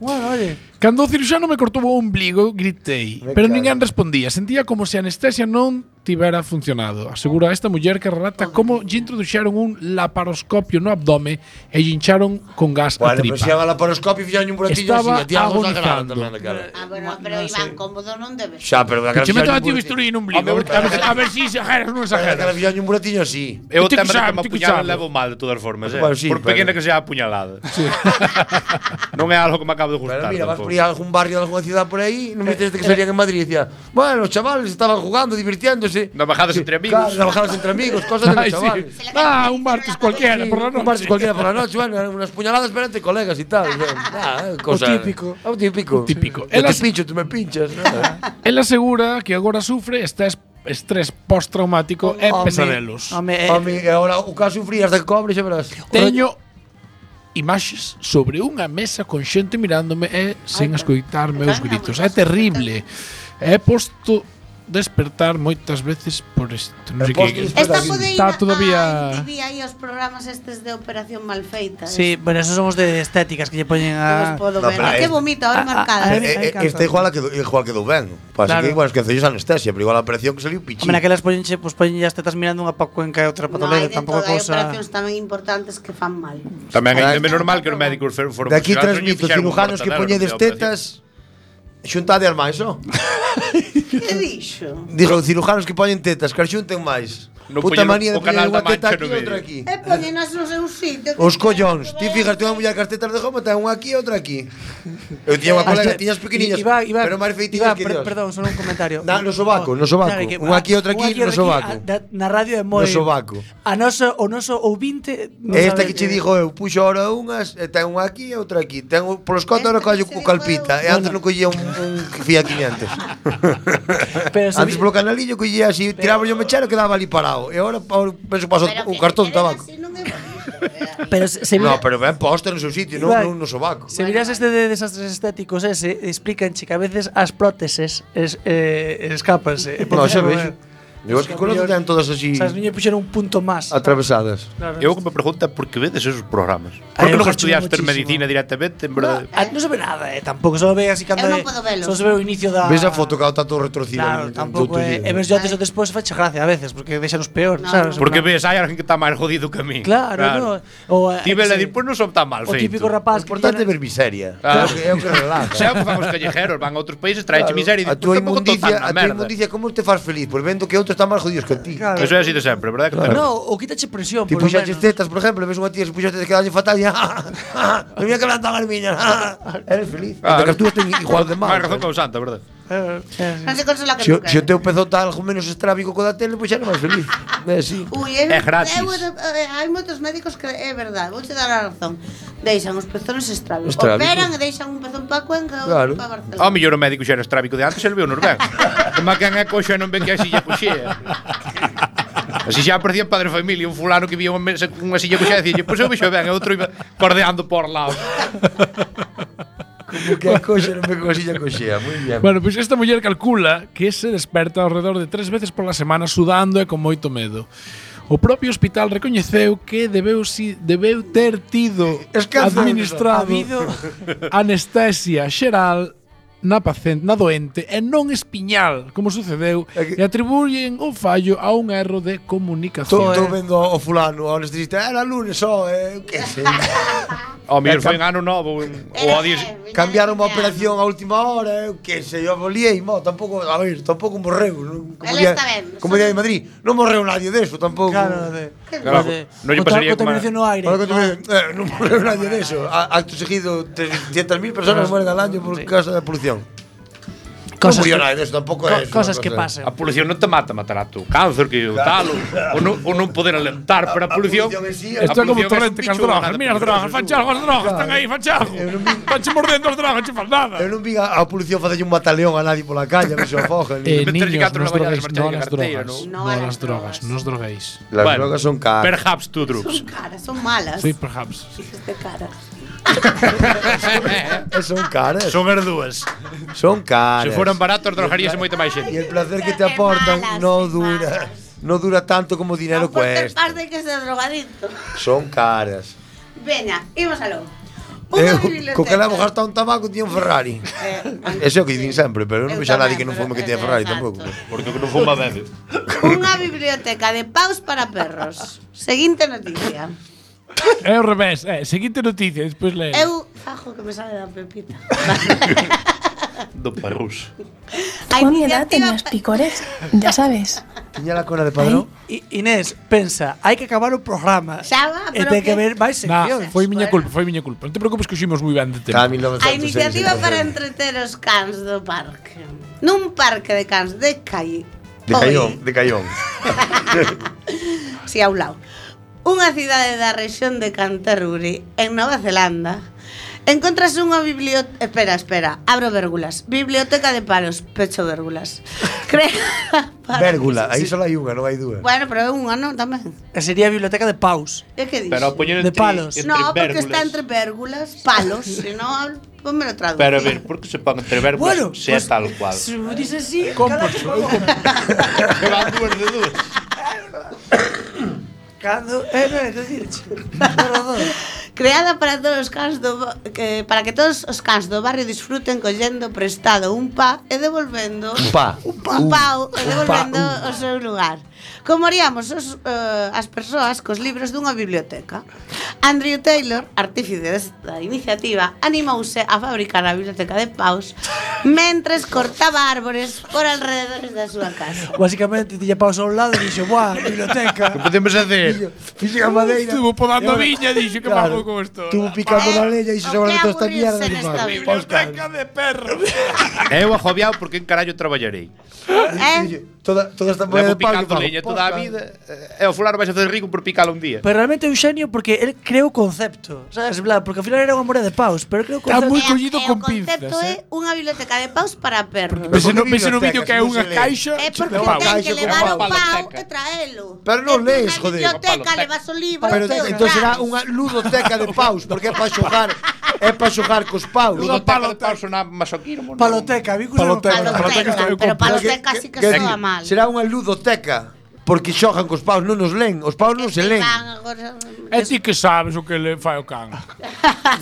S2: Bueno, oye.
S7: Cando o cirurxano me cortou o ombligo, gritei,
S3: Me
S7: pero
S3: cago.
S7: ninguén respondía. Sentía como se a anestesia non tivera funcionado. Asegura esta muller que relata como lle introduxeron un laparoscopio no abdome e lle hincharon con gas a
S3: Bueno, pero
S7: tripa.
S3: se a laparoscopio fixaron un buratillo así,
S7: Estaba
S3: a ti algo está grave
S7: agonizando.
S3: tamén na cara.
S7: Eh.
S8: Ah, bueno, pero Iván, cómodo non debe ser.
S3: Xa, pero a
S7: Que
S3: cara
S7: che metan a ti o
S3: fixaron un
S7: bisturí no ombligo, a ver, a ver- a ver si exageras ou non
S3: buratillo- a cara
S7: exageras.
S3: fixaron un buratillo así.
S9: Eu
S7: Ti que
S9: tamén que
S7: sabe,
S9: me
S7: ti que
S9: apuñalan
S7: sabe.
S9: levo mal de todas formas, eh.
S3: Bueno, sí,
S9: Por
S3: pero-
S9: pequena que sea a apuñalada. non é algo que me acabo de
S3: Pero
S9: gustar.
S3: mira, vas por
S9: tampouco.
S3: ir a algún barrio de alguna ciudad por ahí,
S7: Eh,
S3: no me que salían en Madrid y decía, bueno, los chavales estaban jugando, divirtiéndose.
S9: Navajadas entre amigos.
S3: Claro, navajadas entre amigos, cosas de los
S7: Ay, sí.
S3: chavales.
S7: Ah, un martes cualquiera por la
S3: Un martes
S7: noche.
S3: cualquiera por la noche, bueno, unas puñaladas pero entre colegas y tal. o sea, nada, ¿eh? cosa-
S2: típico.
S3: Ah, O típico.
S7: Típico.
S3: Yo te
S7: Elas-
S3: pincho, tú me pinchas. nada.
S7: El asegura que agora sufre estrés, estrés postraumático e
S3: Home.
S7: pesadelos.
S2: Home, eh,
S3: Home, e ahora o caso sufrí hasta que cobre, xa verás.
S7: Teño imaxes sobre unha mesa con xente mirándome e sen escoitar meus gritos. É terrible. E posto despertar moitas veces por isto. Non sei
S3: E posto
S7: que
S8: Esta
S3: despertar. Está
S8: pode ir
S7: está
S8: todavía... a
S7: todavía
S8: TV aí os programas estes de Operación Malfeita.
S2: Sí, pues, bueno, esos somos de estéticas que lle poñen
S8: Ah, os
S2: a...
S8: podo
S3: No,
S8: ver.
S3: pero
S8: Ah, que
S3: este-
S8: bonito, ahora
S2: Ah,
S8: marcada.
S2: ah,
S3: Eh,
S2: Ahí- ahí
S3: eh,
S2: canto.
S3: Esta igual a quedou, igual quedou ben. Pasa
S2: Claro.
S3: que, bueno, esqueceu anestesia, pero igual a operación que saliu pichín.
S2: Hombre, naquelas poñenche, pois poñenlle as tetas mirando unha pa cuenca e outra pa
S8: no, hai de
S2: toledo, tampouco
S8: todo, hai
S2: é cousa...
S8: operacións tamén importantes que fan mal.
S9: Tamén é é
S3: Claro.
S9: normal que os médicos fer- foron
S3: De aquí
S9: profesionales,
S3: transmito
S9: fixeron un
S3: cirujanos que
S9: mortadelo
S3: poñedes
S9: na operación.
S3: tetas Xuntade al máis, ó.
S8: que dixo?
S3: Dixo, cirujanos que poñen tetas, que as xunten máis.
S9: Non
S3: Puta
S9: poñen
S3: manía de
S9: o canal da
S3: poñer unha teta
S9: Mancha
S3: aquí
S9: no
S3: e outra
S9: medio.
S3: aquí.
S8: E poñenas no seu sitio. que
S3: Os
S8: ten
S3: collóns.
S8: que
S3: Ti
S8: ver.
S3: fíjate unha muller que as tetas de goma ten unha aquí e outra aquí. Eu tiña unha colega, tiñas pequeniñas,
S2: Ah, Iba, iba,
S3: pero máis
S2: Iba,
S3: feitillas que
S2: per-
S3: Dios.
S2: Perdón, solo un comentario.
S3: Na- no sobaco, no sobaco.
S2: Sabe
S3: Un aquí, outro
S2: un
S3: aquí, no
S2: outro
S3: sobaco.
S2: a- da- Na radio é moi...
S3: No sobaco.
S2: A noso, o noso ouvinte... non
S3: Esta
S2: sabe
S3: que che dixo eu, puxo ahora unhas, e ten unha aquí e outra aquí. Ten un- polos cotos
S8: Esta
S3: ahora
S8: que
S3: collo
S8: che
S3: cu
S8: digo
S3: calpita,
S8: eu.
S3: e antes non collía un, un Fiat 500.
S2: Pero
S3: Antes
S2: sabía-
S3: polo canalillo collía así, tiraba yo mechero e quedaba ali parado. E ahora ahora penso paso
S8: Pero que
S3: un cartón de
S8: querer
S3: tabaco.
S8: así non é bonito, eh.
S2: Pero se, se
S3: No,
S2: mira-
S3: pero ben posta no seu sitio, non
S2: Ibai,
S3: non no sobaco.
S2: Se miras este de desastres estéticos ese, explícanche que a veces as próteses es, eh, escapanse. E
S3: No,
S2: por eh,
S3: xa
S2: favor,
S3: vexo. Eu acho que con outro ten todas así
S2: Sabes, miña puxeron un punto máis.
S3: atravesadas.
S9: Eu que me pregunta por que vedes esos programas. Por que
S2: Ai, Ah, eu
S9: non
S2: cacho
S9: estudiaste
S2: muchísimo.
S9: medicina directamente, en verdade?
S2: Ah, non se ve nada, eh, tampouco, só ve así cando
S8: Eu non
S2: é-
S8: podo velo.
S2: Só se ve o inicio da...
S3: Ves a foto que está todo
S2: Claro,
S3: retrocida.
S2: tampouco é... E ves yo antes ou despois fache gracia a veces, porque deixanos peor,
S8: No, no.
S2: sabes?
S9: Porque ves, hai alguén que está máis jodido que a mí.
S2: Claro, no. O, eh,
S9: Tive
S2: que
S9: a
S2: se-
S9: dir, pois non son tan mal
S2: o típico
S9: feito.
S3: O
S2: rapaz que
S3: importante é
S2: tiña-
S3: ver miseria.
S9: Claro.
S3: Claro. É o que relaja.
S9: Xa fan os callejeros, van a outros países, traeche miseria e
S3: a
S9: dis, "Pois
S3: tua
S9: tampouco estou
S3: inmundicia,
S9: tan na
S3: a tua
S9: merda.
S3: inmundicia como te faz feliz? Pois vendo que outro está máis jodidos que ti.
S2: Claro.
S9: Eso é así de sempre, verdade? Que
S2: No, o quítache presión,
S3: Ti
S2: por lo
S3: puxaches
S2: menos.
S3: tetas, por exemplo, e ves unha tía se puxaste que dalle fatal e non mira que plantaban as miñas. Eres feliz. Ah, que as túas ten igual de mal.
S9: Máis razón que o Santa, verdade?
S2: Eh, eh,
S8: Non se consola que
S3: Se, o-
S8: nunca.
S3: se o teu pezou tal o menos estrábico co da tele, pois era máis feliz. É así.
S8: Ui, é,
S9: É gratis.
S8: eu- eh, hai moitos médicos que é verdade, vouche dar a razón. Deixan os pezones estrábicos.
S3: Estrábicos.
S8: Operan e deixan un pezón pa Cuenca ou
S3: Claro. Ah,
S8: pa Barcelona.
S9: Ao mellor o médico xa era estrábico de antes, el veu nos ben. Como que a coxa non ven que a silla coxea. Así xa aparecía padre de familia, un fulano que vía unha mesa cunha silla coxea e dicía, pois eu vexo ben, e outro iba cordeando por lados.
S3: Como que a coxa non me coxilla coxea, ah, moi ben.
S7: Bueno, pois esta muller calcula que se desperta alrededor de tres veces pola semana sudando e con moito medo. O propio hospital recoñeceu que debeu, si, debeu ter tido
S3: Escándalo.
S7: administrado
S2: Habido-
S7: anestesia xeral na pacente, na doente e non espiñal, como sucedeu, e atribuyen o fallo a un erro de comunicación.
S3: Estou eh. vendo o fulano, ao anestesista, era lunes só, eh, que sei. Eh,
S9: Ao mellor foi en ano novo en- ou ao día
S3: Cambiaron a operación a eh, última hora, eu que sei, eu volíei, eh, mo, tampouco, a ver, tampouco morreu, non? como
S8: Ela
S3: día,
S8: está ben,
S3: como día de Madrid, non morreu nadie deso tampouco. Claro, de,
S9: Claro, Pues, non lle pasaría como a- contaminación
S2: no aire.
S3: eh, non morreu nadie deso. A- Acto seguido 300.000 personas mueren al año por causa da polución.
S9: Cosas
S3: non murió
S9: que-
S3: nadie deso, tampouco é eso, unha cosa.
S9: A polución non te mata, matará tú cáncer que o tal ou,
S3: Claro.
S9: ou, non, ou non poder alentar, pero a polución
S7: Isto é como torrente, que as drogas, mira as drogas, fanchago, as drogas, están aí, fanchago. Fanche mordendo as drogas, che fan nada.
S3: Eu non vi a, a polución facelle un mataleón a nadie pola calle, a ver se o afogan.
S7: Eh,
S3: Meterlle
S7: niños,
S3: catro
S7: non
S3: na
S7: os
S3: vallada,
S7: droguéis,
S3: marcharlle
S7: non as
S3: carteira,
S7: drogas,
S3: non?
S7: non as drogas, non os droguéis.
S3: Las drogas son caras.
S9: Perhaps two drugs.
S8: Son caras, son malas.
S7: Sí, perhaps.
S8: Hijas de caras.
S3: Son caras.
S9: Son as dúas.
S3: Son caras.
S9: Se foran baratos, drogaríase moita máis
S3: E
S9: xente.
S3: el placer que te aportan no dura, no dura tanto como o dinero
S8: Pues
S3: cuesta.
S8: parte que ser drogadicto.
S3: Son caras.
S8: Veña, imos aló. Unha
S3: Eu,
S8: biblioteca. Eh,
S3: co Eh, que levo gastado un tabaco tiña un Ferrari. Ese é o que dicen sempre, pero eu non
S8: Eu
S3: vexo a nadie
S8: tamén,
S3: que non
S8: pero-
S3: fume que tiña
S8: eh,
S3: Ferrari
S8: exacto.
S3: tampouco.
S9: Porque o que non fuma bebe.
S8: Unha biblioteca de paus para perros. Seguinte noticia.
S7: É o revés, eh, seguinte noticia, despois lees.
S8: Eu fajo que me sale da pepita.
S9: Do perrus.
S8: A
S11: ¿Cuál edad tenías picores? Ya sabes.
S3: Tiña la cola de padrón.
S2: Inés, pensa, hai que acabar o programa.
S8: Xa va,
S2: E
S8: pero
S2: ten que
S8: que-
S2: haber máis
S7: Na,
S2: seccións.
S7: foi miña culpa, foi miña culpa. Non te preocupes que ximos moi ben de tempo.
S8: A iniciativa para entreter os cans do parque. Nun parque de cans de Cai.
S3: De Caión, de Caión.
S8: Si, ao lado. Unha cidade da rexión de Canterbury, en Nova Zelanda, encontras unha biblioteca... Espera, espera, abro vérgulas. Biblioteca de palos, pecho vérgulas. Crea...
S3: Vérgula, aí só hai unha, non hai dúas.
S8: Bueno, pero é unha, non? Tamén.
S2: E sería a biblioteca de paus.
S8: É que dixo?
S9: Pero poñer entre- De palos. entre
S8: no, porque
S9: vérgulas.
S8: está entre vérgulas, palos, se non, ponmelo traducir.
S9: Pero a ver, por que se pon entre verbos bueno, se é tal cual?
S2: me dices así,
S9: Que van dúas de dúas.
S2: Cando, eh, non é dicirche. Perdón.
S8: Creada para todos os cans do ba- que, para que todos os cans do barrio disfruten collendo prestado un pa e devolvendo
S3: Pa. Uh,
S8: un pau e
S3: un
S8: devolvendo
S3: pa, uh.
S8: o seu lugar. Como haríamos os, eh, as persoas cos libros dunha biblioteca. Andrew Taylor, artífice desta iniciativa, animouse a fabricar a biblioteca de paus mentres cortaba árbores por alrededores da súa casa.
S2: Básicamente, tiña paus a un lado e dixo, buah, biblioteca.
S9: Que podemos hacer?
S3: Fixen a madeira.
S7: Estuvo podando
S3: E ahora-
S7: viña, dixo, que pago
S3: Claro.
S7: con isto.
S3: Estuvo picando na leña e dixo,
S8: O
S3: "Agora
S8: que
S3: toda esta
S8: aburrirse
S3: mierda".
S8: nesta
S3: Paus,
S8: vida.
S3: paus, caras.
S7: de perro.
S9: Eu ajobiao porque en carallo traballarei.
S8: Eh?
S3: Toda, toda esta
S9: Levo
S3: moeda de paus.
S9: picando leña toda a vida. eh, E o fulano vai facer rico por picala un día.
S2: Pero realmente é un xenio porque el creou o concepto, sabes, en plan, porque ao final era unha morea de paus, pero creou o
S7: Está
S2: concepto.
S7: moi collido
S8: E o
S7: con
S8: concepto
S7: pinzas,
S8: é
S7: eh.
S8: unha biblioteca de paus para perros.
S7: Vese no, vese no
S3: bibliotecas,
S7: vídeo que é
S3: non
S7: unha
S3: se lee.
S7: caixa
S8: É
S7: de
S8: porque
S7: pau.
S8: ten que
S3: Caixa,
S8: levar o
S3: unha
S8: pau
S3: paloteca.
S8: e traelo.
S3: Pero non lees,
S8: Na
S3: joder.
S8: biblioteca levas o libro.
S3: Pero
S8: te o
S3: entón será
S8: traes.
S3: unha ludoteca de paus, porque é para xogar, é para xogar cos paus.
S9: Ludoteca de pau sona masoquismo. non?
S2: Paloteca, vi que
S3: Paloteca.
S8: Paloteca, pero paloteca sí que soa mal.
S3: Será unha ludoteca, porque xogan cos paus, non nos len, os paus non se len.
S8: Van agora-
S7: E ti que sabes o que le fai o can.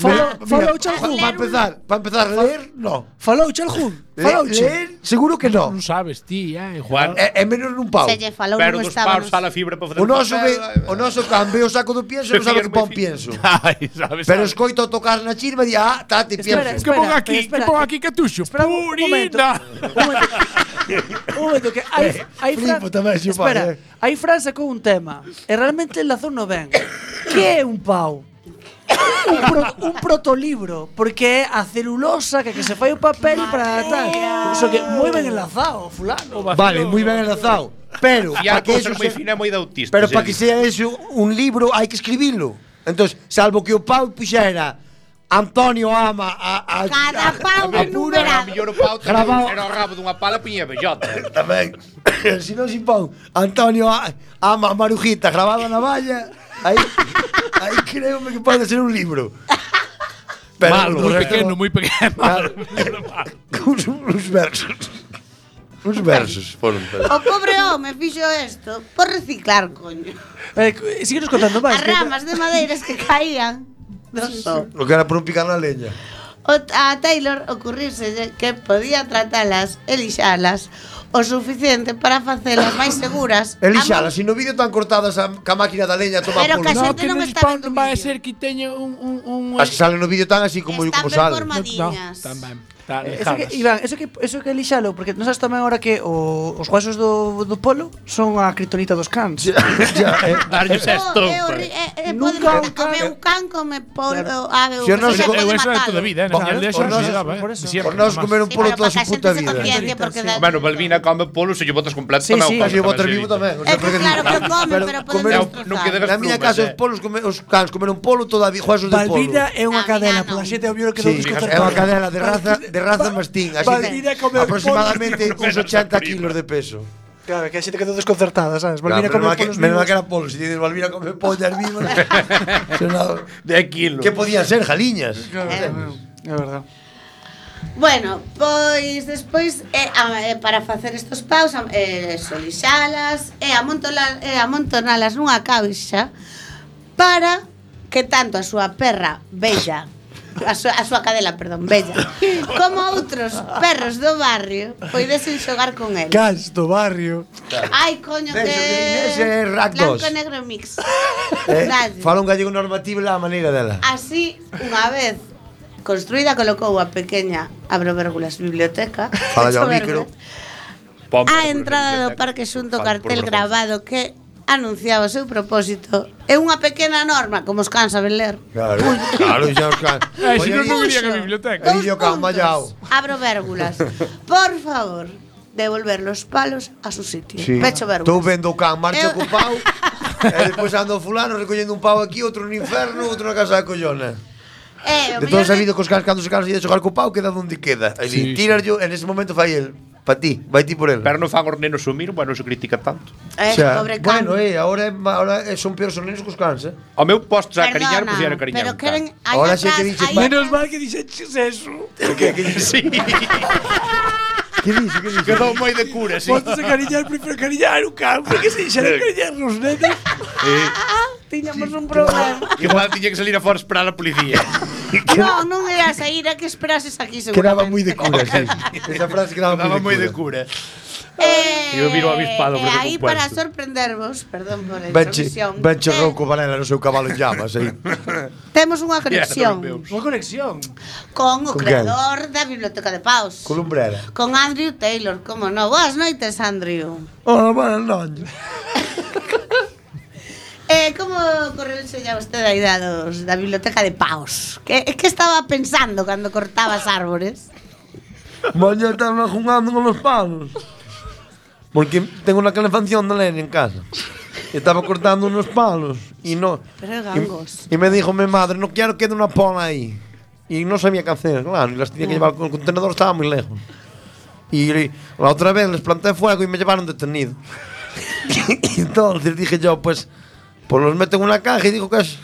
S2: Falou Chalhun.
S3: Para empezar, para empezar a ler, no.
S2: Falou Chalhun.
S3: Le-
S2: Falou
S3: Ler, seguro que no.
S7: Non sabes ti, eh, Juan.
S9: Juan,
S3: É, é menos nun pau.
S8: Se lle falou
S9: pero
S8: non
S9: dos
S8: estaba.
S9: paus sala fibra para facer
S3: O noso, ve,
S9: papel, eh,
S3: o noso can ve o saco do pienso e non sabe que pon pienso.
S9: Ai, sabes.
S3: Pero escoito o tocar na chirma e di, ah, tate
S2: Espera,
S3: pienso.
S7: Que pon
S2: espera,
S7: aquí,
S2: espera.
S7: que pon aquí catuxo.
S2: Espera un momento.
S7: Purina.
S2: Un momento. Un momento que hai hai Fran.
S3: Eh, flipo tamén, xo,
S2: Espera,
S3: padre.
S2: hai Fran sacou un tema e realmente enlazou no ben. Que é un pau? un, pro, un protolibro porque é a celulosa que, que se fai o papel para tal. Iso que moi ben enlazado, fulano.
S3: Vale, moi ben enlazado. Pero,
S9: E a
S3: para que
S9: cousa
S3: eso
S9: moi
S3: se-
S9: fina e moi de autista.
S3: Pero para que sea eso un libro hai que escribilo. Entón, salvo que o Pau puxera Antonio ama a... a
S8: Cada pau
S9: A pura era
S8: enumerado.
S9: mellor o pau tamén
S3: Grabado.
S9: era o rabo dunha pala puña bellota.
S3: Tamén. si non si pon Antonio a- ama a Marujita grabada na valla, aí, aí créome que pode ser un libro.
S7: Malo, moi pequeno, moi pequeno.
S3: Claro. uns, uns versos. Uns versos foron. pero-
S8: O oh, pobre home fixo isto por reciclar, coño.
S2: Eh, cu- síguenos contando máis.
S8: As
S2: que-
S8: ramas de madeiras que caían do sol.
S3: O que era por un picar na leña.
S8: o a Taylor ocurrirse que podía tratalas e lixalas o suficiente para facelas máis seguras.
S3: E lixala, se no vídeo están cortadas a, ca máquina da leña a tomar
S8: Pero que a
S3: polo.
S8: xente non está vendo
S7: vai ser que teña un, un, un
S3: As que salen no vídeo tan así como, como Eh, salen.
S7: tamén.
S2: Eso que, Iván, eso que, eso que lixalo, porque non sabes tamén ahora que o, os huesos do, do polo son a criptonita dos cans.
S3: eh.
S9: Darlle esa estrofa.
S8: Eh, Nunca o meu can come polo, a meu
S3: Si os nosos-
S8: pode
S3: Eu eso é
S8: matalo.
S9: toda a vida, eh, na aldea xa non se daba, eh, de siempre,
S3: Por nós
S9: además.
S3: comer un
S8: Sí,
S3: polo
S8: pero pa
S3: toda a
S8: que a
S3: súa
S8: xente
S3: puta
S8: se
S3: vida.
S8: conciencia, porque da-
S9: Bueno, Balbina come polo, se lle botas completo
S3: Sí,
S9: tamén o
S3: sí.
S9: polo
S3: Se lle botas
S9: se
S3: vivo
S9: evita.
S3: tamén, o
S8: É que claro que come, pero pode
S3: Comer,
S9: non quedan as
S3: na miña
S9: plumas,
S3: casa
S9: eh.
S3: os polos come, os cans comeron polo toda a vida, juesos de polo.
S2: Balbina é unha cadela, pola xente ao miolo que
S3: Sí,
S2: non escutar.
S3: é unha cadela de raza, de raza mastín, así
S2: Balbina
S3: de
S2: come
S3: aproximadamente
S2: polos.
S3: uns 80 kilos de peso.
S2: Claro, que a xente quedou desconcertada, sabes?
S3: Claro,
S2: Balbina
S3: menos
S2: come
S3: mal que-
S2: polos
S3: Menos mal
S2: vivos.
S3: que era polo, si dices Balbina come pollas vivas. sonaba-
S9: De kilos.
S3: Que podían ser jaliñas.
S8: Eh.
S2: É verdade.
S8: Bueno, pois despois eh, a, eh, para facer estos paus am- eh, solixalas e amontola- e amontonalas nunha caixa para que tanto a súa perra bella a súa, a súa cadela, perdón, bella como outros perros do barrio poidesen xogar con el
S2: Cans do barrio.
S8: Ai, coño, que...
S3: Eso, que ese é Rack
S8: Blanco
S3: dos.
S8: e negro mix
S3: Eh,
S8: Dalle.
S3: fala un gallego normativo la maneira dela.
S8: Así, unha vez construída colocou a pequeña abro vérgulas biblioteca
S3: Fala ao
S8: abro
S3: micro.
S8: vérgulas, a Ah, entrada do parque xunto cartel grabado que anunciaba o seu propósito e unha pequena norma como os can saben ler
S3: Claro, claro, xa os can.
S7: Eh, si non, non
S8: Puxo
S7: iría que a biblioteca.
S8: dous
S3: Vídeo can
S8: puntos.
S3: mallao.
S8: abro vérgulas por favor devolver los palos a su sitio pecho
S3: Estou
S8: vérgulas
S3: vendo o can, marcha
S8: Eu-
S3: co pau. e despois ando fulano recollendo un pau aquí, outro no inferno, outro na casa da collona.
S8: Eh, o
S3: De todo
S8: mellor
S3: sabido que os cans cando se cansan de xogar co pau, queda onde queda. E
S7: Sí,
S3: sí, tírallo, en ese momento fai el pa ti, vai ti por el.
S9: Pero non fan os nenos sumir, bueno, non se critica tanto.
S8: Eh, pobre can.
S3: Bueno, eh, ahora, é ma- ahora é- son peores os nenos que os cans, eh.
S9: Ao meu posto a cariñar,
S8: Perdona,
S9: pusieron a cariñar.
S8: pero
S9: un
S8: queren
S9: can.
S8: hai
S3: Ahora
S8: atrás,
S3: sí que dices,
S8: hai
S3: "Menos
S8: atrás".
S2: mal que dixeches eso.
S9: Sí.
S3: Que dixe, que dixe?
S9: Quedou moi de cura, sí.
S2: Postos a cariñar, prefiero cariñar un can, porque se
S3: Eh.
S2: dixeron cariñar os netos.
S8: Ah, tiñamos un problema
S9: Igual tiña que salir a fora a esperar a policía.
S8: Non, non era a saída que esperases aquí
S3: Quedaba
S8: seguramente
S3: moi de cura, sí. Esa frase quedaba
S9: Daba moi
S3: moi
S9: de
S3: de cura.
S9: cura.
S8: Eh,
S9: Eu viro o
S8: E
S9: avispado, pero
S8: aí
S9: compuesto.
S8: para sorprendervos, perdón por a
S3: Benche,
S8: introducción.
S3: benche
S8: eh,
S3: rouco banela no seu cabalo en llamas, eh. aí.
S8: Temos unha
S9: Mierda,
S8: conexión
S9: meu Deus.
S2: Unha conexión.
S8: con o
S3: Con
S8: creador da Biblioteca de Paus.
S3: Columbrera.
S8: Con Andrew Taylor, como no. Boas noites, Andrew.
S3: Hola, buenas noches.
S8: Eh, como correuxe ya vostede a idea dos, da Biblioteca de Paus? Que, que estaba pensando cando cortabas árbores?
S3: Voy a estar jugando con los palos. Porque tengo una calefacción de leña en casa. Estaba cortando unos palos y no.
S8: Pero gangos.
S3: Y, y me dijo mi madre, no quiero que quede una pola ahí. Y no sabía qué hacer, claro. Y las tenía que llevar con el contenedor, estaba muy lejos. Y le- la otra vez les planté fuego y me llevaron detenido. y entonces dije yo, pues, pues los meto en una caja y digo que es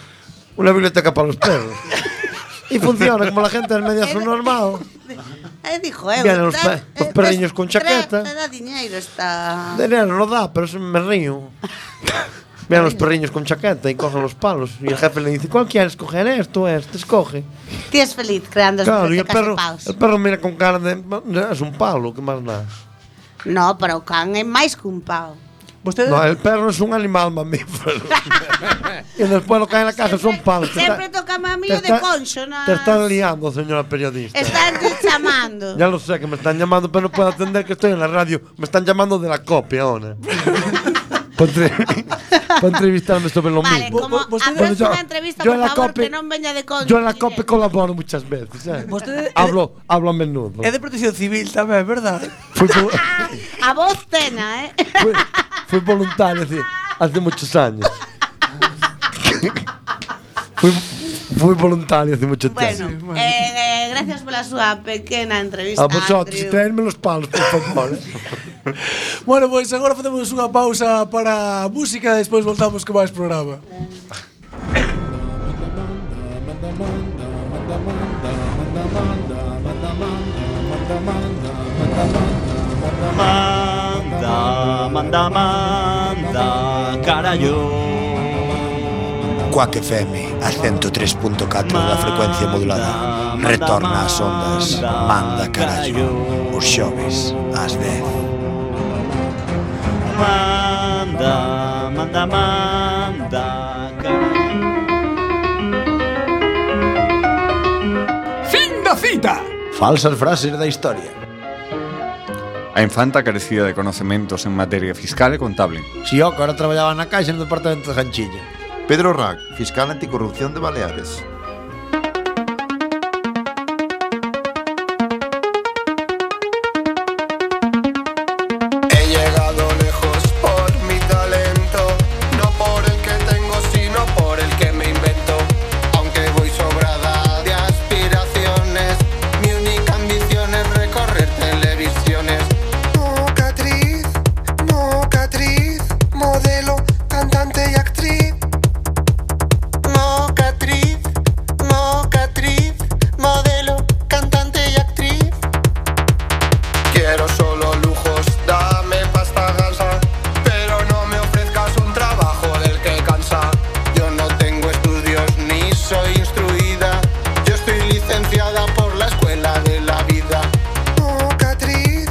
S3: una biblioteca para los perros. y funciona, como la gente es media subnormal.
S8: Eh, dijo, eu.
S3: Vienen os
S8: tra-
S3: pe- os
S8: eh,
S3: perriños con
S8: tra-
S3: chaqueta. "Ah,
S8: Te da diñeiro esta...
S3: Dinero no da, pero se me río. Vean los perriños con chaqueta y cogen los palos. Y el jefe le dice, ¿cuál quieres coger? Esto, esto, escoge.
S8: Ti es feliz creando as
S3: Claro, y el
S8: bibliotecas de
S3: perro,
S8: Paus.
S3: el perro mira con cara de... "Ya Es un palo, que más nada.
S8: No, pero o can é máis que un pau.
S2: Vostede
S3: No, el perro es un animal mamífero. y después lo que hay en la caja son palos. Te
S8: Sempre
S3: está-
S8: toca a mí
S3: te
S8: o de
S3: está-
S8: concho, na...
S3: Te están liando, señora periodista.
S8: Están te chamando.
S3: Ya lo sé, que me están llamando, pero no puedo atender que estoy en la radio. Me están llamando de la copia ahora. Para entrevistarme sobre lo
S8: Vale,
S3: mismo.
S8: como
S2: vos-
S8: a
S2: vos-
S8: próxima entrevista,
S3: yo
S8: por
S3: en la
S8: favor,
S3: cope-
S8: que non veña de concho.
S3: Yo en la COPE colaboro muchas veces. ¿sabes?
S2: Vostede-
S3: Hablo, hablo a menudo.
S2: é de protección civil tamén, é verdade?
S3: Fui, vo-
S8: A voz tena, eh?
S3: fui- fui voluntario hace, hace muchos años. fui, fui voluntario hace muchos
S8: Bueno, eh,
S3: años.
S8: eh, gracias pola súa pequena entrevista,
S3: A vosotros,
S8: pues,
S3: y
S8: Andrew.
S3: traedme los palos, por favor. ¿eh?
S2: Bueno, pois agora facemos unha pausa para a música e despois voltamos con máis programa.
S12: Manda, manda, manda, carallo. Cuac FM a 103.4 da frecuencia modulada Retorna ás ondas Manda carallo Os xoves ás 10
S13: Manda, manda, manda.
S14: Fin da cita.
S12: Falsas frases da historia
S4: A infanta carecía de conocementos en materia fiscal e contable.
S3: Si yo que ahora traballaba na caixa no departamento de Janchilla.
S15: Pedro Rac, fiscal anticorrupción de Baleares.
S16: He llegado lejos por mi talento, no por el que tengo, sino por el que me invento. Aunque voy sobrada de aspiraciones, mi única ambición es recorrer televisiones. Nunca actriz, nunca actriz, modelo, cantante y actriz. Nunca actriz, nunca actriz, modelo, cantante y actriz. Quiero solo lujos, dame pasta gansa, pero no me ofrezcas un trabajo del que cansa. Yo no tengo estudios ni soy instruida, yo estoy licenciada por la escuela de la vida.
S17: Nunca actriz,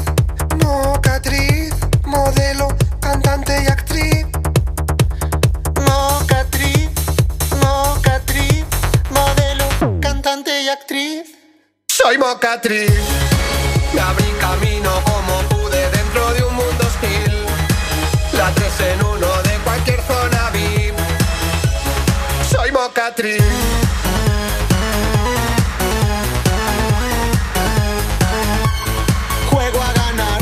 S17: nunca actriz, modelo, cantante y actriz.
S16: Nunca actriz, nunca actriz, modelo, cantante y actriz. Soy mocatriz, me abrí camino como pude dentro de un mundo hostil. La tres en uno de cualquier zona VIP. Soy mocatriz. Juego a ganar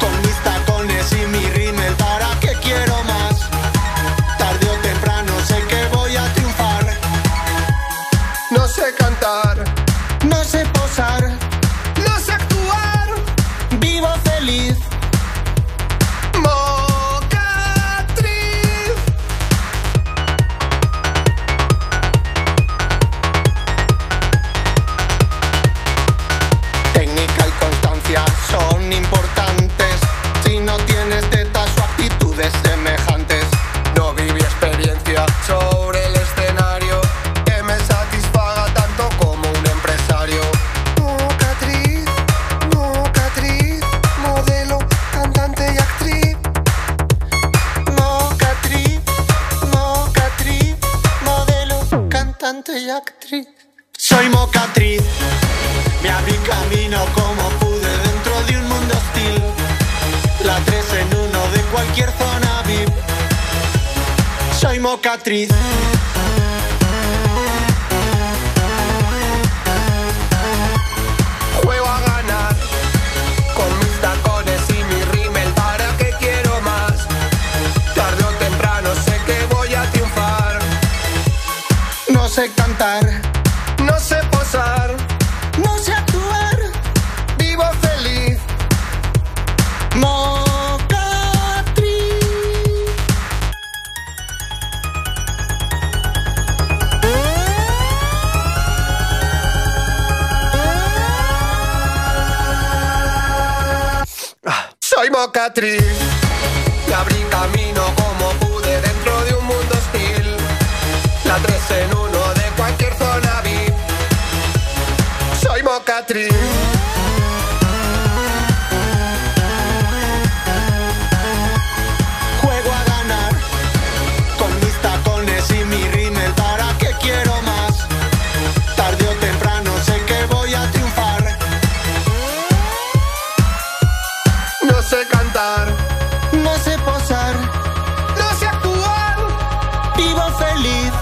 S16: con mis tacones y mi rímel. ¿Para qué quiero más? Tarde o temprano sé que voy a triunfar. No sé cantar, no sé posar, no sé actuar. Vivo feliz. Mocatriz. Técnica y constancia son importantes. Si no tienes tetas o actitudes semejantes, no viví experiencia sobre el escenario que me satisfaga tanto como un empresario.
S17: Nunca actriz, nunca actriz, modelo, cantante y actriz.
S16: Moca actriz, moca actriz, modelo, cantante y actriz. Soy mocatriz, me abrí camino como pude dentro de un mundo hostil. La tres en uno de cualquier zona VIP. Soy mocatriz. Juego a ganar con mis tacones y mi rímel. ¿Para qué quiero más? Tarde o temprano sé que voy a triunfar. No sé cantar, no sé posar, no sé actuar. Vivo feliz. Mocatriz. Soy mocatriz. Y abrí camino como pude dentro de un mundo hostil. La tres en uno de cualquier zona VIP. Soy mocatriz. Juego a ganar con mis tacones y mi rímel. ¿Para qué quiero más? Tarde o temprano sé que voy a triunfar. No sé cantar, no sé posar, no sé actuar. Vivo feliz.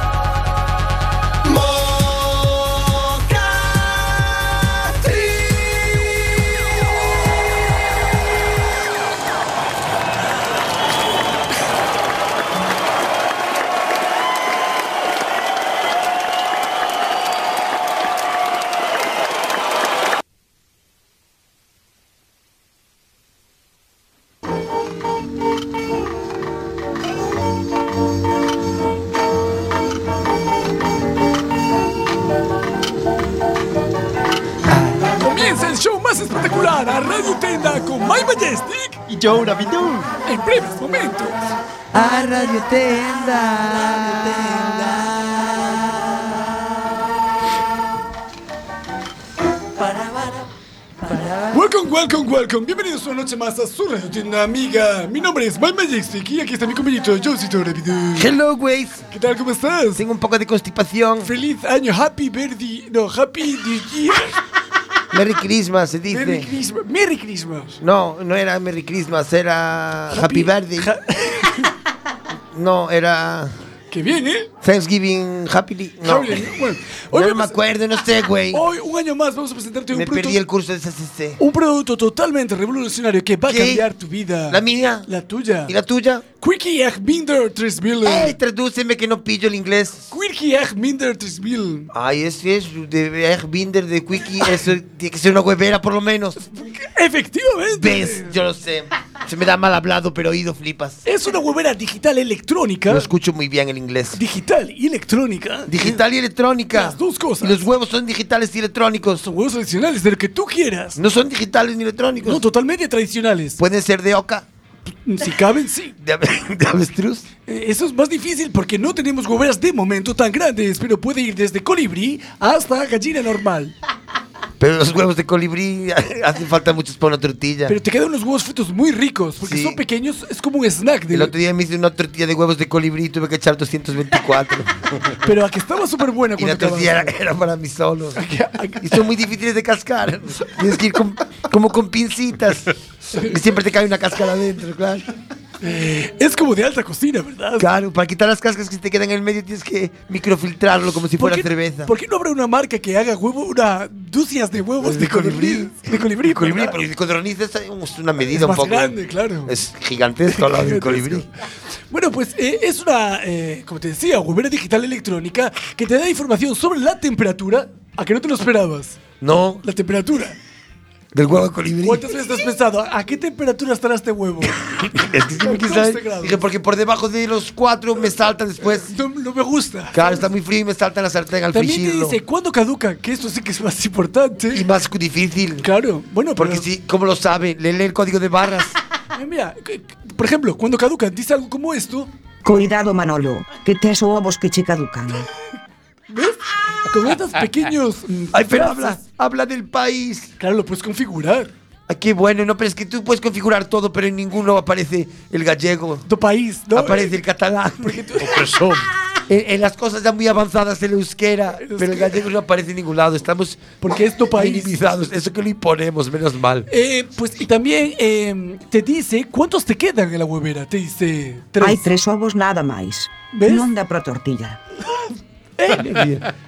S14: Comienza el show más espectacular a Radio Tenda con My Majestic y Joe Navidou. En breves momentos.
S5: a Radio Tenda.
S14: Welcome, welcome, welcome. Bienvenidos una noche más a su radio tienda amiga. Mi nombre es Mike Majestic y aquí está mi compañero Josito Rápido.
S3: Hello, Waze.
S14: ¿Qué tal? ¿Cómo estás?
S3: Tengo un poco de constipación.
S14: Feliz año, happy birthday. No, happy the year.
S3: Merry Christmas, se dice.
S14: Merry Christmas. Merry Christmas.
S3: No, no era Merry Christmas, era Happy, Birthday. no, era.
S14: Qué bien, ¿eh?
S3: Thanksgiving Happily. No,
S14: Hable, Bueno, hoy
S3: no, no
S14: vamos
S3: me
S14: a-
S3: acuerdo, no sé, güey.
S14: Hoy, un año más, vamos a presentarte un
S3: Me
S14: producto.
S3: perdí el curso de CCC.
S14: Un producto totalmente revolucionario que va a
S3: ¿Qué?
S14: cambiar tu vida.
S3: ¿La mía?
S14: La tuya.
S3: ¿Y la tuya? ¡Eh!
S14: Quickie Egg Binder 3000.
S3: ¡Ey, tradúceme que no pillo el inglés!
S14: Quirky Egg Binder 3000.
S3: Ay, ese es de Binder de Quickie. Eso tiene que ser una huevera, por lo menos.
S14: Efectivamente.
S3: ¿Ves? Yo lo sé. Se me da mal hablado, pero oído flipas.
S14: Es una huevera digital electrónica.
S3: No escucho muy bien el inglés.
S14: Digital y electrónica.
S3: Digital y electrónica.
S14: Las dos cosas.
S3: Y los huevos son digitales y electrónicos.
S14: Son huevos tradicionales, de lo que tú quieras.
S3: No son digitales ni electrónicos.
S14: No, totalmente tradicionales.
S3: Pueden ser de oca,
S14: Si caben, sí.
S3: de, ave- de avestruz.
S14: Eh, Eso es más difícil porque no tenemos hueveras de momento tan grandes, pero puede ir desde colibrí hasta gallina normal.
S3: Pero los huevos de colibrí hacen falta muchos para una tortilla.
S14: Pero te quedan unos huevos fritos muy ricos porque
S3: Sí.
S14: son pequeños, es como un snack. De...
S3: El otro día me hice una tortilla de huevos de colibrí y tuve que echar 224.
S14: Pero a que estaba súper buena
S3: y la
S14: cuando
S3: tortilla era,
S14: acabas.
S3: era para mí solo. Y son muy difíciles de cascar. Tienes que ir con- como con pincitas. Y siempre te cae una cáscara adentro, claro.
S14: Es como de alta cocina, ¿verdad?
S3: Claro, para quitar las cáscaras que te quedan en el medio tienes que microfiltrarlo como si
S14: ¿Por
S3: fuera
S14: qué-
S3: cerveza.
S14: ¿Por qué no habrá una marca que haga huevo, una dúcias de huevos de colibrí? De colibrí,
S3: El colibrí,
S14: ¿verdad?
S3: pero el codorniz es es una medida
S14: Es
S3: un
S14: más
S3: poco.
S14: grande, claro.
S3: Es gigantesco al lado del colibrí.
S14: Bueno, pues eh, es una, eh, como te decía, huevera digital electrónica que te da información sobre la temperatura a que no te lo esperabas.
S3: No,
S14: La temperatura.
S3: del huevo de colibrí.
S14: ¿Cuántas veces has pensado a qué temperatura estará este huevo?
S3: Es que siempre
S14: Con
S3: quise saber.
S14: 12 grados.
S3: Dije, porque por debajo de los cuatro me saltan después.
S14: No, no me gusta.
S3: Claro, está muy frío y me saltan la sartén al
S14: También te
S3: frigirlo.
S14: dice cuándo caduca, que esto sí que es más importante.
S3: Y más difícil.
S14: Claro, bueno,
S3: Porque
S14: pero-
S3: sí, ¿cómo lo sabe? Le lee el código de barras.
S14: Eh, Mira, que- que- por ejemplo, cuando caduca, dice algo como esto.
S18: Cuidado, Manolo, que tes ovos que che caducan.
S14: ¿Ves? Con estos pequeños. mm,
S3: Ay, pero
S14: frases.
S3: habla, habla del país.
S14: Claro, lo puedes configurar.
S3: Ay, Ah, qué bueno, no, pero es que tú puedes configurar todo, pero en ninguno aparece el gallego.
S14: Tu país, ¿no? Eh,
S3: Aparece el catalán.
S9: Opresor.
S3: En, en las cosas ya muy avanzadas el euskera, pero el gallego no aparece en ningún lado. Estamos
S14: Porque es tu país.
S3: minimizados. Eso que lo imponemos, menos mal.
S14: Eh, pues y también eh, te dice cuántos te quedan en la huevera. Te dice tres.
S18: Hai tres ovos nada máis.
S14: Ves? Eh.
S18: Non dá para tortilla.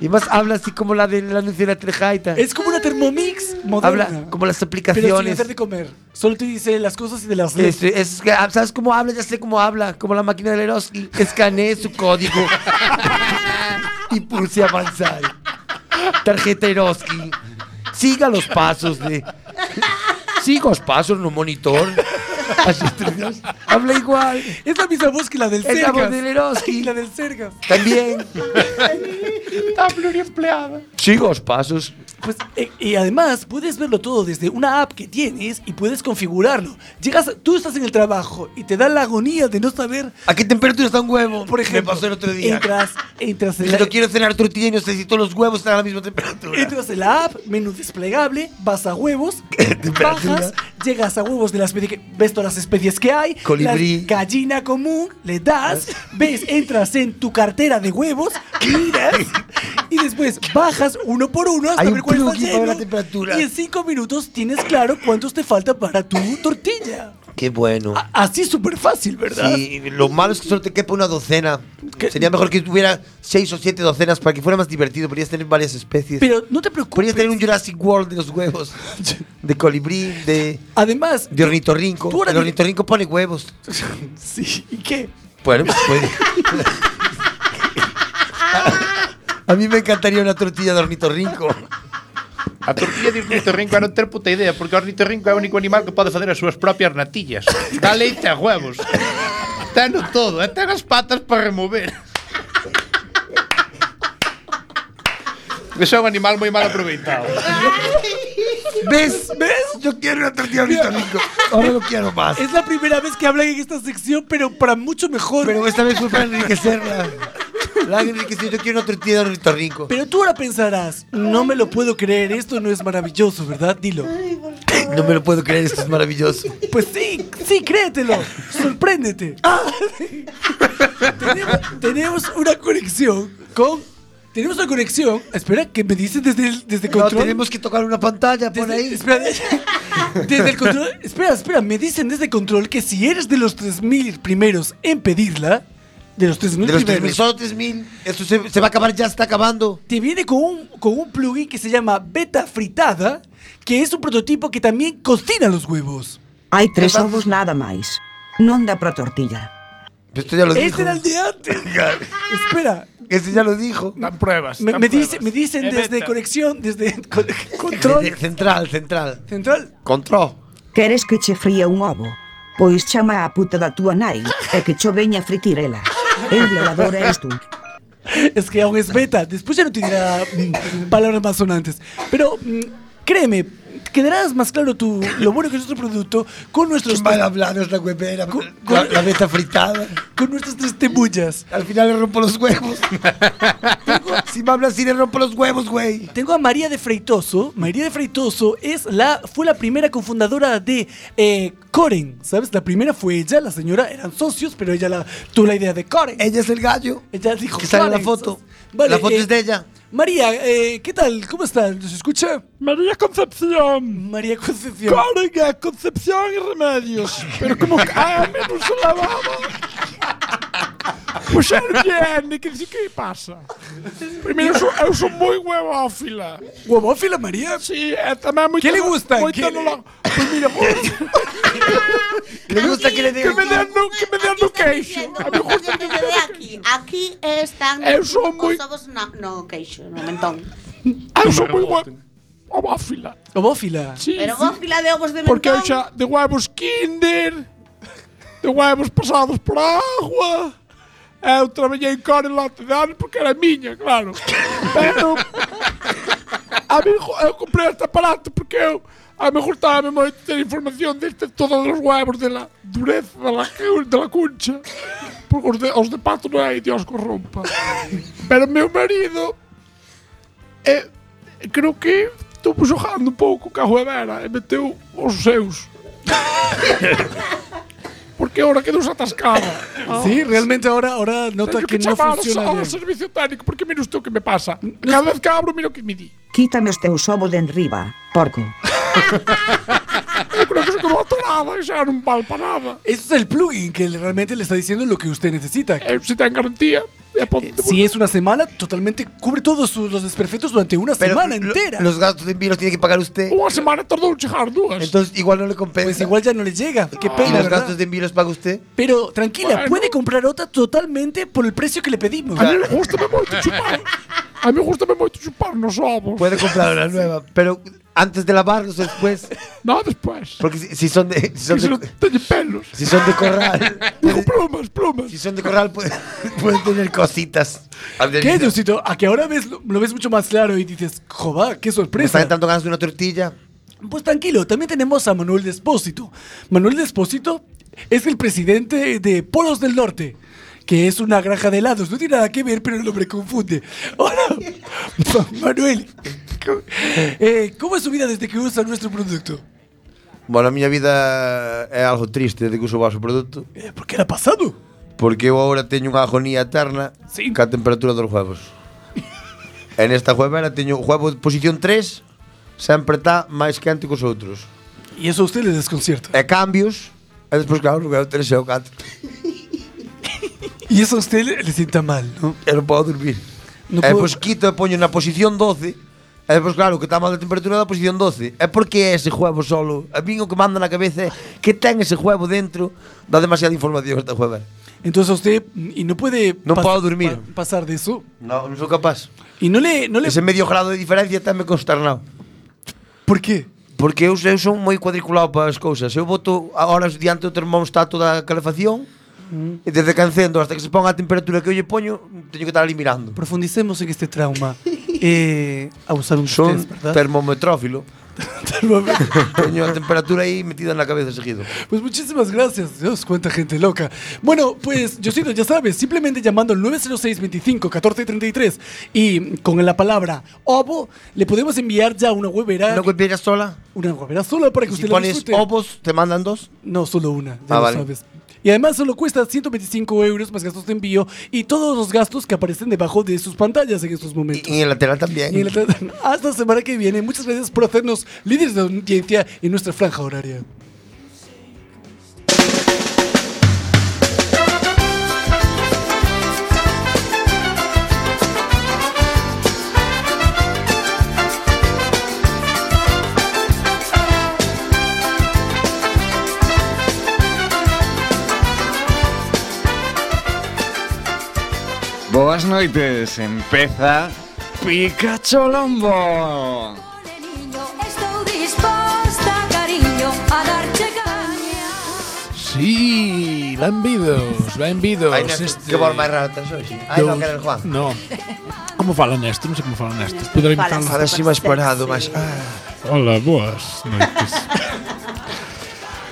S3: Y más habla así como la del anuncio de la trejaita.
S14: Es como una Thermomix moderna.
S3: Habla como las
S14: pero sin
S3: aplicaciones.
S14: hacer de comer. Solo te dice las cosas y de las
S3: Es-
S14: letras.
S3: es que, ah, ¿Sabes cómo habla? Ya sé cómo habla. Como la máquina de Leroski. Escaneé su código y pulse avanzar. Tarjeta Eroski. Siga los pasos de. Siga los pasos no monitor. Las instrucciones. Habla igual.
S14: Es la misma voz que la del
S3: Es la voz
S14: Sergas.
S3: de Leroski.
S14: la del Sergas.
S3: También.
S9: Está pluriempleada.
S3: Siga los pasos.
S14: Pues, eh, y además puedes verlo todo desde una app que tienes y puedes configurarlo. Llegas, tú estás en el trabajo y te da la agonía de no saber.
S3: ¿A qué temperatura está un huevo?
S14: Por ejemplo,
S3: Me pasó el otro día.
S14: entras, entras en
S3: Dije,
S14: la,
S3: "No quiero cenar tortilla y necesito los huevos están a la misma temperatura.
S14: Entras en la app, menú desplegable, vas a huevos, bajas, llegas a huevos de la especie que ves todas las especies que hay,
S3: Colibrí.
S14: la gallina común, le das, ves, entras en tu cartera de huevos, miras y después bajas uno por uno hasta
S3: Hay un
S14: ver cuál está
S3: plugin para ver la
S14: lleno,
S3: temperatura.
S14: Y en cinco minutos tienes claro cuántos te falta para tu tortilla.
S3: Qué bueno.
S14: Así es súper fácil, ¿verdad?
S3: Sí, lo malo es que solo te quepa una docena. Sería mejor que tuviera seis o siete docenas para que fuera más divertido. Podrías tener varias especies.
S14: Pero no te preocupes.
S3: Podrías tener un Jurassic World de los huevos. De colibrí, de,
S14: Además,
S3: de ornitorrinco.
S14: Tú ahora
S3: El
S14: di-
S3: ornitorrinco pone huevos.
S14: sí, ¿y qué?
S3: Bueno, pues puede. A mí me encantaría una tortilla de ornitorrinco.
S9: A tortilla de ornitorrinco era non ter puta idea, porque o ornitorrinco é o único animal que pode facer as súas propias natillas. Dá leite a huevos. Teno todo, e ten as patas para remover. Eso é un animal moi mal aproveitado.
S3: ¿Ves? ¿Ves? Yo quiero un atractivo británico. Ahora lo quiero más.
S14: Es la primera vez que hablan en esta sección, pero para mucho mejor.
S3: Pero esta vez fue para enriquecerla. La han enriquecido. Yo quiero un atractivo británico.
S14: Pero tú ahora pensarás, no me lo puedo creer, esto no es maravilloso, ¿verdad? Dilo.
S3: No me lo puedo creer, esto es maravilloso.
S14: Pues sí, sí, créetelo. Sorpréndete. Ah, tenemos, tenemos una conexión con. Tenemos una conexión. Espera, que me dices desde, el- desde
S3: No,
S14: control.
S3: tenemos que tocar una pantalla por
S14: Desde-
S3: ahí.
S14: Espera, desde el control. Espera, espera, me dicen desde control que si eres de los 3.000 primeros en pedirla, de los 3.000
S3: De los 3.000,
S14: primeros.
S3: solo 3.000. Esto se, se va a acabar, ya está acabando.
S14: Te viene con un, con un plugin que se llama Beta Fritada, que es un prototipo que también cocina los huevos.
S2: Hai tres ovos nada máis. Non dá para tortilla.
S3: Esto ya lo
S14: Este
S3: dijo.
S14: era el de antes. espera,
S3: Este ya lo dijo.
S7: Dan pruebas.
S14: me,
S7: dan
S14: me
S7: pruebas.
S14: dice- me dicen
S7: Eh,
S14: desde
S7: vete.
S14: conexión, desde con- control.
S3: Desde Central, central.
S14: Central.
S3: Control.
S2: Queres que che fría un ovo? Pois chama a puta da túa nai e que cho veña fritir ela. Eu violadora eres tú.
S14: Es que aún es beta. Después ya no te dirá mm, palabras más sonantes. Pero mm, créeme, quedarás más claro tú lo bueno que es nuestro producto con nuestros.
S3: Mal hablados la huevera.
S14: con-
S3: La, la beta fritada.
S14: Con nuestras tres tembullas.
S3: Al final le rompo los huevos. si me hablas así, le rompo los huevos, güey.
S14: Tengo a María de Freitoso. María de Freitoso es la, fue la primera cofundadora de eh, Coren. ¿Sabes? La primera fue ella, la señora eran socios, pero ella la, tuvo la idea de Coren.
S3: Ella es el gallo.
S14: Ella dijo
S3: Que sale en la
S14: Coren,
S3: foto.
S14: ¿sabes? Vale,
S3: la foto
S14: eh,
S3: es de ella.
S14: María, eh, ¿qué tal? ¿Cómo estás? ¿Nos escucha?
S7: María Concepción.
S14: María Concepción.
S7: Carga, Concepción y Remedios. Pero como cae menos la baba. Pues el viernes, que dice, ¿qué pasa? Primeiro, eu, eu sou moi huevófila.
S14: Huevófila, María?
S7: Sí, é tamén moita...
S14: Que le gusta?
S7: Moita
S14: Que le-
S7: nola... Pois mira,
S3: Le gusta que le
S7: que me den no, que me den no queixo. A mí gusta
S8: que me dé aquí. Aquí están
S7: Eu sou moi-
S8: os ovos no, no queixo, no mentón.
S7: eu sou moi hue- huevófila.
S14: Ovófila.
S7: Oh, Sí,
S8: Pero vos fila de ovos de mentón.
S7: porque eu xa de huevos kinder, de huevos pasados por agua... Eu traballei con el lote de anos porque era miña, claro. Pero A mí jo- eu comprei este aparato porque eu a me gustaba moito ter información deste todos os huevos de la dureza de la, cu- de la cuncha. Porque os de, os de pato non hai, Dios corrompa. Pero meu marido eh, creo que estuvo xogando un pouco ca huevera e meteu os seus. porque ahora que nos atascaba.
S14: Sí, realmente ahora, ahora nota
S7: Teño
S14: que,
S7: que,
S14: no
S7: chamar
S14: funciona
S7: ao,
S14: bien.
S7: ao servicio técnico porque mira usted o que me pasa. Cada vez que abro mira o que me di.
S2: Quítame os teus ovos de enriba, porco.
S7: Eu creo que se quedou atorada e xa non vale para nada.
S14: Eso es el plugin que le- realmente le está diciendo lo que usted necesita. Eh,
S7: Eh, si ten garantía, é ponte
S14: Si es una semana, totalmente cubre todos sus- los desperfectos durante una semana
S3: lo-
S14: entera.
S3: los gastos de envío los tiene que pagar usted.
S7: Unha semana tardou en chegar dúas.
S3: Entonces, igual no le compensa.
S14: pues igual ya no le llega. Qué
S3: ¿Y
S14: pena,
S3: los
S14: ¿verdad?
S3: gastos de envío los paga usted?
S14: Pero tranquila,
S7: Ah. Bueno.
S14: puede comprar otra totalmente por el precio que le pedimos.
S7: A mí gustame moito chupar. A mí gustame moito chupar nos ovos.
S3: Puede comprar una nueva, pero antes de lavarlos después.
S7: No, despois.
S3: Porque si, si son de. Si
S7: Que
S3: son
S7: se non
S3: de,
S7: teñe pelos.
S3: si son de corral.
S7: Digo, plumas, plumas.
S3: Si son de corral, pueden, pueden tener cositas.
S14: ¿Qué, Diosito? A que ahora ves, lo, lo ves mucho más claro y dices, joba, qué
S3: Me
S14: sorpresa.
S3: están dando ganas de una tortilla.
S14: Pues tranquilo, también tenemos a Manuel Despósito. Manuel Despósito es el presidente de Polos del Norte, que es una granja de helados. No tiene nada que ver, pero el hombre confunde. Hola, Ma- Manuel. ¿Cómo- eh, ¿Cómo es su vida desde que usa nuestro producto?
S3: Bueno, a miña vida é algo triste de que uso o vaso produto
S14: Eh, ¿Por qué era pasado?
S3: Porque eu agora teño unha agonía eterna
S14: Sí.
S3: Ca temperatura dos huevos En esta juevera teño o huevo de posición 3 Sempre está máis quente que os outros
S14: Y eso E a usted le desconcierta.
S3: E cambios E despois claro, porque eu 3 e o 4
S14: Y eso E a usted le, le sienta mal, ¿no?
S3: E non podo dormir
S14: No
S3: E
S14: puedo-
S3: despois quito e poño na posición 12 E despois claro, que está mal a temperatura da posición 12 É porque é ese huevo solo A mí o que manda na cabeza é Que ten ese huevo dentro Dá demasiada información esta juevera
S14: Entonces a usted, y no puede
S3: No
S14: pas-
S3: puedo dormir.
S14: pa- pasar de eso.
S3: No, non sou capaz
S14: Y no le, no le...
S3: Ese medio grado de diferencia está me consternado.
S14: ¿Por qué?
S3: Porque eu, eu son moi cuadriculado para as cousas. Eu boto a horas diante do termostato da calefacción e desde que encendo hasta que se ponga a temperatura que eu lle poño, teño que estar ali mirando.
S14: Profundicemos en este trauma. Eh, abusaron de
S3: Son
S14: ustedes, ¿verdad?
S3: termometrófilo. Coño, a temperatura ahí metida en la cabeza seguido.
S14: Pues muchísimas gracias. Dios, cuánta gente loca. Bueno, pues, Josito, ya sabes, simplemente llamando al 906-25-1433 y con la palabra OVO, le podemos enviar ya una huevera.
S3: ¿Una huevera sola?
S14: Una huevera sola para que
S3: Si
S14: usted la
S3: pones
S14: disfrute.
S3: ovos, ¿te mandan dos?
S14: No, solo una. Ya
S3: Ah,
S14: lo
S3: vale.
S14: sabes. Y además solo cuesta 125 euros más gastos de envío y todos los gastos que aparecen debajo de sus pantallas en estos momentos.
S3: Y en el lateral también.
S14: Y en la- Hasta la semana que viene. Muchas gracias por hacernos líderes de audiencia en nuestra franja horaria.
S4: Boas noites, empeza Pikachu Lombo.
S19: Estou disposta, cariño, a darche caña
S7: Sí, benvidos, benvidos.
S3: Ai, Néstor, que voz máis rara tes hoxe. Ai, non, que era el Juan.
S7: No. Como falan esto? Non sei como falan esto. Poder imitar
S3: Fala así máis parado, máis... ah.
S7: Hola, boas noites.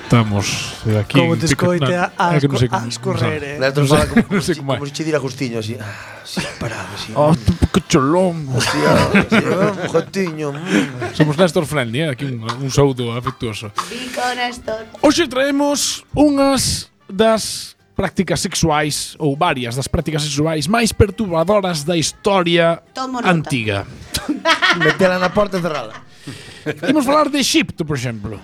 S7: Estamos aquí.
S3: Como te escoite
S7: a, que non sei como- non sabe.
S3: Néstor fala como,
S7: non sei
S3: como, como se che dira Justiño, así. Ah, sí, parado, así.
S7: Oh, tú que cholombo.
S3: Hostia, Justiño.
S7: Somos Néstor Friendly, eh? aquí un, un saúdo afectuoso.
S8: Pico, Néstor.
S7: Hoxe traemos unhas das prácticas sexuais ou varias das prácticas sexuais máis perturbadoras da historia
S8: Tomo nota.
S7: antiga.
S3: Metela na porta e cerrala.
S7: Imos falar de Egipto, por exemplo.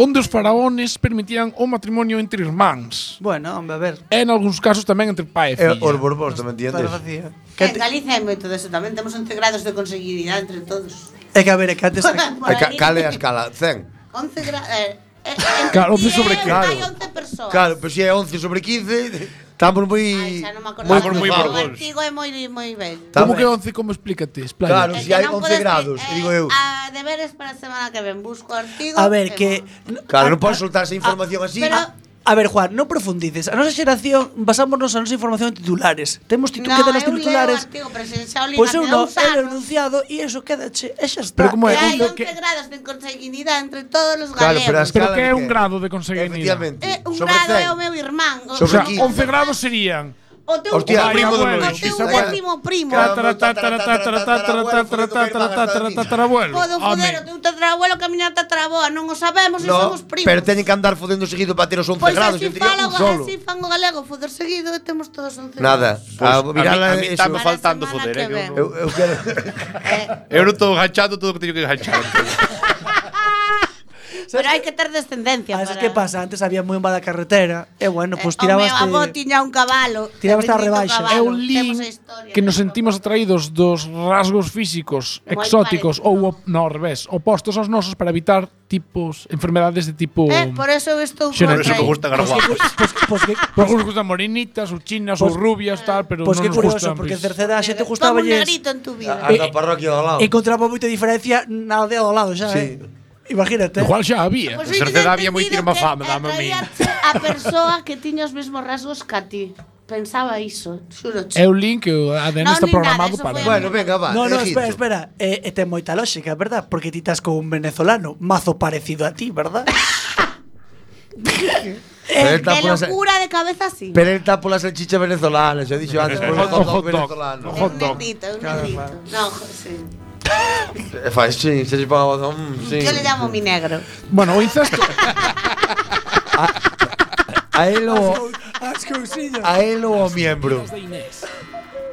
S7: Onde os faraóns permitían o matrimonio entre irmáns.
S2: Bueno, hombre, a ver.
S7: E algúns casos tamén entre pai e
S3: E
S7: filla.
S3: os borbóns tamén tiendes.
S8: En Galicia hai moito deso tamén, temos 11 grados de conseguibilidade entre todos.
S2: É que a ver, é que antes.
S8: Por aí.
S3: Cale a escala, 100.
S8: 11 grados... Eh, eh,
S3: Claro, 11
S8: 11
S3: sobre claro.
S8: Hai 11 persoas.
S3: Claro, pero se é 11 sobre 15, estamos moi...
S8: Xa non me acordo.
S3: Moi
S8: Moi
S3: por- moi por
S8: O antigo é moi, moi eh, bello.
S7: Como
S3: Tamén.
S7: que 11, como explícate? Explaya.
S3: Claro,
S8: É
S3: se
S8: que
S3: hai
S8: non
S3: 11
S8: podes-
S3: grados,
S8: eh,
S3: digo eu.
S8: A deberes para a semana que ven, busco artigo.
S2: A
S8: e
S2: ver, que. Ah,
S3: Claro, non podes soltar esa información así. Ah.
S2: A, a ver, Juan, non profundices. A nosa xeración basámonos a nosa información en titulares. Temos titu
S8: No,
S2: que tener
S8: eu
S2: titulares.
S8: leo artigo, pero se xa o liga
S2: Pois eu
S8: hace
S2: non,
S8: dous
S2: é
S8: anos.
S2: enunciado e eso quédache, e xa está.
S7: Pero como é?
S8: Que hai
S7: Once
S8: 11 grados de conseguibilidade entre todos os galegos.
S7: pero que é un grado de conseguir
S3: Efectivamente.
S8: Eh, un
S7: Sobre
S8: grado
S7: 100.
S8: é o meu irmán. O,
S7: O sea,
S8: o
S7: 11 grados serían.
S8: O teu
S7: Hostia,
S8: primo,
S7: primo do
S8: o
S7: meu bicho.
S8: teu décimo primo.
S7: Tatara, tatara, tatara, tatara, tatara, tatara, tatara, tatarabuelo.
S8: Podo
S7: Home.
S8: foder o teu tatarabuelo que a miña tataraboa, non o sabemos e
S3: No,
S8: somos primos.
S3: pero teñen que andar fodendo seguido para ter os 11
S8: Pois
S3: grados.
S8: así,
S3: eu tería
S8: fala,
S3: un solo.
S8: así fan o galego, foder seguido e temos todos 11
S3: Nada. Ah, a
S9: a
S3: virala
S9: mí
S3: eso.
S9: estame faltando
S8: semana
S9: foder,
S8: que
S9: eh, que
S8: ven.
S9: eu,
S3: eu, quero...
S9: eu non estou ganchando todo o que teño que ganchar.
S8: Pero hai que ter descendencia
S2: A veces
S8: para...
S2: que pasa, antes había moi mala carretera, e bueno,
S8: O
S2: pois
S8: meu
S2: tirabas
S8: avó tiña un cabalo.
S2: Tirabas a
S8: bendito
S2: rebaixa.
S8: cabalo,
S7: É un link
S8: temos a historia.
S7: que nos sentimos atraídos dos rasgos físicos
S8: Moi
S7: exóticos ou op- no, ao revés, opostos aos nosos para evitar tipos enfermedades de tipo
S8: Eh, por eso eu estou
S7: xenético.
S8: contra isto.
S7: Por algunos pues gustan morinitas, ou chinas,
S8: Pues,
S7: ou
S8: eh,
S7: rubias, tal, pero
S2: Pois
S7: non
S2: que
S7: nos
S2: curioso,
S7: gustan.
S2: porque en
S7: pois.
S2: terceira a xente
S8: Toma
S2: gustaba
S8: un
S2: yes.
S8: negrito en tu vida.
S3: A da parroquia do lado.
S2: Encontraba moita diferencia na aldea do lado xa,
S3: Sí.
S2: eh? Imagínate.
S7: Igual xa había.
S8: Pois
S9: A certeza había moi tirma fama, dame a mí.
S8: Traíache a persoa que tiña os mesmos rasgos que a ti. Pensaba iso, xuro.
S7: É un link que o ADN
S8: No,
S7: está
S8: ni nada,
S7: programado
S8: eso
S7: para.
S8: fue- Bueno,
S3: venga, va,
S2: No, no, espera,
S3: Egipto.
S2: espera. Eh, e ten moita lógica, verdad? Porque ti estás con un venezolano mazo parecido a ti, verdad?
S3: Pero
S8: De
S3: él está pola sal-
S8: locura de cabeza así.
S3: Pero él está pola salchicha venezolana, xa dixo antes,
S7: O
S3: polo
S7: hot
S3: hot dog
S7: dog.
S3: venezolano.
S8: É un negrito, é un negrito. No, José.
S3: Eh, Fai, sí, se lle paga o mm, sí.
S8: Yo le llamo mi negro.
S7: Bueno, o incesto.
S3: A él o
S2: As cousillas.
S3: a él o ao miembro.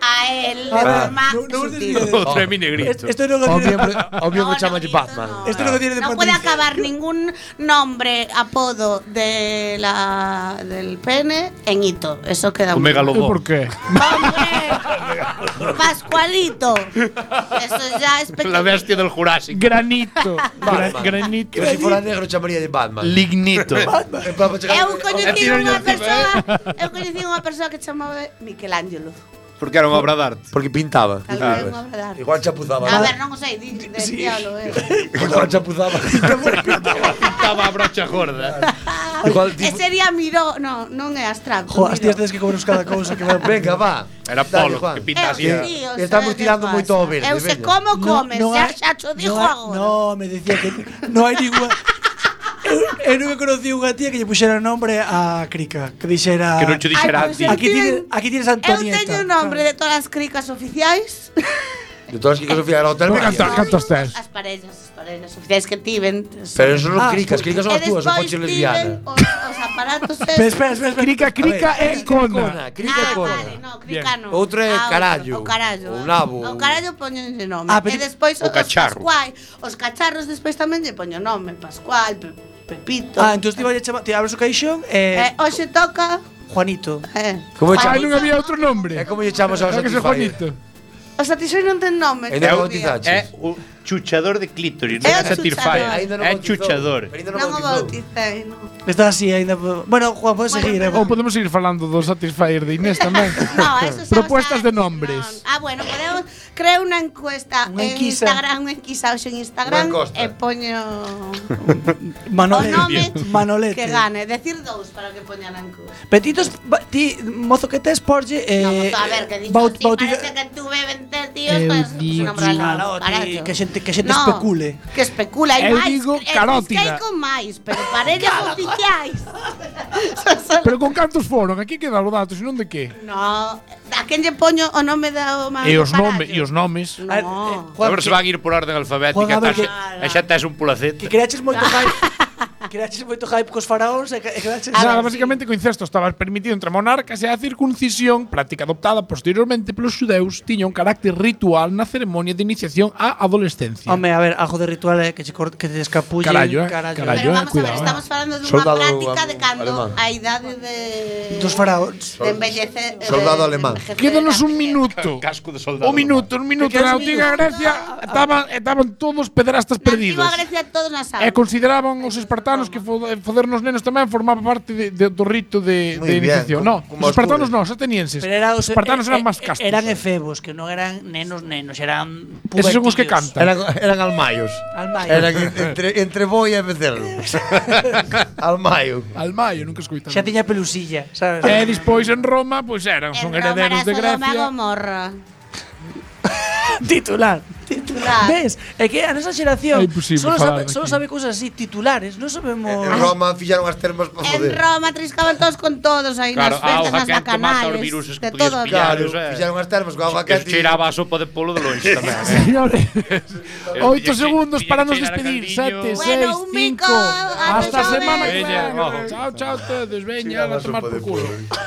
S8: A él,
S3: Ah.
S8: de forma sutil.
S9: Outro é mi negrito.
S2: Esto no
S3: Ao
S2: lo tiene,
S3: miembro, ao miembro chamalle Batman.
S2: esto no lo tiene de
S8: No puede
S2: Patricia.
S8: acabar ningún nombre, apodo de la, del pene en hito. Eso queda
S9: O
S8: muy mal.
S9: megalodón.
S7: Por qué?
S8: Pascualito. Eso ya es pequeño.
S9: La bestia del Jurásico.
S7: Granito. Gra-
S3: Batman.
S7: Granito.
S3: Eu se fora negro chamaría de Batman.
S7: Lignito.
S3: Eh, pa- pa chegar-
S8: Eu coñecín
S9: tiro
S8: unha
S9: yo encima,
S8: persoa, eu coñecín unha persoa que chamaba Michelangelo.
S9: Porque era unha obra de arte.
S3: Porque pintaba.
S8: Tal vez unha obra de arte.
S3: Ah, pues, Igual chapuzaba.
S8: A ver, non o sei, di, de, sí. diablo, eh.
S3: Igual chapuzaba.
S9: Pintaba a brocha gorda.
S3: Igual
S8: E sería miró, no, non é abstracto.
S2: Jo, as tías
S3: este
S2: tedes que cobrar cada cousa que van.
S3: Venga, va.
S9: Era Polo,
S3: Dale, Juan.
S9: que pinta así.
S3: Eh, Estamos tirando moito ao verde.
S8: Eu se
S3: veña.
S8: como comes,
S2: no
S8: xa,
S2: hai-
S8: xa cho digo
S2: no hai-
S8: agora.
S2: No, me decía que no hai ninguna Eu, eu nunca conocí unha tía que lle puxera nombre a Crica, que dixera
S9: Que non che dixera
S2: Ai,
S9: antes.
S2: pois Aquí tienes, aquí tienes
S8: Eu
S2: a Antonieta.
S8: teño o nombre de todas as cricas oficiais.
S3: De todas as que Sofía era hotel.
S7: Cantos, cantos tes?
S8: As parellas, as parellas oficiais que tiven.
S3: Pero eso
S2: Ah,
S3: non cricas, cricas son as túas, son coche lesbiana.
S8: Os, os aparatos... eh,
S2: Pero espera, espera, espera.
S7: Crica, crica
S3: A
S7: e
S3: ver,
S7: cona.
S3: Crica e cona.
S8: no, cricano.
S3: Outro
S8: Ah,
S3: é
S8: outro,
S3: carallo.
S8: O carallo. eh.
S3: O nabo.
S8: O carallo poñenlle nome. Ah,
S2: Ah, pero-
S8: e despois os
S9: O cacharro.
S8: pascuai. Os cacharros despois tamén lle poño nome. Pascual, Pe- Pepito.
S2: Ah, entón ti vai chamar, ti abres o caixón
S8: Eh,
S2: e eh,
S8: hoxe toca...
S2: Juanito.
S8: Eh,
S3: Como lle
S7: Ai,
S3: chamamos?
S7: non había outro nombre.
S3: É como lle chamamos ao
S7: Era que se
S3: Satisfyer?
S7: Juanito.
S8: o Satisfy non ten nome.
S3: Ainda non
S8: todavía.
S9: É
S3: bautizaches.
S9: o chuchador de clítoris,
S8: É o
S9: non é Satisfyer.
S8: chuchador.
S3: Ainda non
S9: Eh, É
S3: bautizou.
S9: chuchador.
S3: Ainda non
S8: Non o
S3: bautizou.
S8: bauticei, non.
S2: Está así aínda. Bueno, Juan, podes
S8: Bueno,
S2: seguir. eh,
S7: Ou podemos ir falando do Satisfyer de Inés tamén.
S8: No, eso xa
S7: Propuestas
S8: os hai,
S7: de nombres.
S8: non. Ah, bueno, podemos crear unha encuesta
S2: Unha
S8: en
S2: enquisa.
S8: Instagram, unha enquisa hoxe en Instagram
S3: Unha encosta.
S8: e poño
S2: Manole-
S8: o nome
S2: Manolete.
S8: que gane, decir dous para que poñan a encuesta.
S2: Petitos, ba- ti mozo que tes porlle
S8: No,
S2: eh,
S8: mozo, a ver, que dices,
S2: baut-
S8: ti
S2: bautiza-
S8: parece que tuve 20 tíos,
S7: Eu
S8: pues,
S7: digo-
S2: Claro, ti, que xente- que xente
S8: no,
S2: especule.
S8: Que especula, hai
S7: Eu
S8: máis.
S7: digo
S8: eh,
S7: carótida.
S8: busquei con máis, pero parellas oficiais. Son só-
S7: Pero con cantos foron? Aquí quedan os datos, non de que?
S8: no, a quen lle poño o nome da o
S7: E os nomes, e os nomes.
S2: A ver, eh,
S3: Ah,
S8: No.
S9: A
S2: Juan,
S9: ver se
S2: que-
S9: van ir por orden
S2: Juan,
S9: alfabética,
S2: a
S9: tá
S2: ver,
S9: xe-
S2: que-
S9: e xa tes un
S2: Que
S9: pulacete.
S2: creaches moito hype. creaches moito hype cos faraóns e que- e creaches
S7: O sea, basicamente co incesto estaba permitido entre monarcas e a circuncisión, práctica adoptada posteriormente polos xudeus, tiña un carácter ritual na ceremonia de iniciación á adolescencia.
S2: Home, a ver, ajo de ritual é que che cort, que te escapulle,
S7: Carallo, eh, carallo.
S8: Pero
S7: Yo, eh,
S8: vamos a
S7: cuidado,
S8: ver,
S7: eh.
S8: estamos falando dunha
S3: Soldado
S8: práctica
S3: am-
S8: de cando
S3: alemán.
S8: a idade de
S2: Dos faraóns.
S8: de embellecer
S3: Soldado alemán.
S7: Quédanos un minuto.
S9: Casco de soldado.
S7: Un minuto, un minuto.
S2: Te
S7: Na
S2: quedas un
S7: antiga
S2: minuto.
S7: Grecia estaban, estaban todos pederastas
S8: Na
S7: perdidos.
S8: antiga Grecia todos na
S7: E
S8: saben.
S7: consideraban os espartanos que fo- eh, foder nos nenos tamén formaba parte de, de, do rito de,
S3: Muy
S7: de
S3: bien,
S7: iniciación. no,
S3: como- como
S7: os
S3: os
S7: espartanos
S3: judeus.
S7: non, os atenienses.
S2: Pero era os
S7: os espartanos eran máis castos.
S2: Eran efebos, que non eran nenos nenos, eran pubertillos.
S7: Esos son os que cantan.
S3: Eran, eran almaios.
S2: Almaios.
S3: Eran entre, entre boi e becerro. Almaio.
S7: Al maio, nunca escuitaron.
S2: Xa tiña pelusilla, sabes?
S7: E despois en Roma, pois eran, son herederos de Grecia.
S8: Gomorra.
S2: titular.
S8: Titular.
S2: Ves? É que a nosa xeración
S7: É imposible
S2: solo
S7: falar
S2: sabe,
S7: aquí.
S2: solo sabe cousas así, titulares, non sabemos...
S3: En Roma fillaron as termas para
S8: En
S3: joder.
S8: Roma triscaban todos con todos aí nas
S9: Claro,
S8: festas,
S9: auga
S8: nas
S9: que te mata
S8: bacanales.
S9: os viruses que
S8: de
S9: podías
S8: todo
S9: pillar.
S3: Claro,
S9: Claro, eh.
S3: fillaron as termas con agua
S9: Que
S3: cati.
S9: cheiraba a sopa de polo de longe tamén. eh.
S7: Señores, oito
S9: Pillé-
S7: segundos
S9: pillé
S7: para nos
S9: cheirar a
S7: despedir.
S9: caldillo.
S7: Sete, seis,
S8: Bueno, un
S7: cinco.
S8: bico,
S7: Hasta
S8: adiós,
S7: semana que
S9: Veña,
S7: viene.
S9: ojo.
S7: Chao, chao, a todos. Veña, a tomar por culo.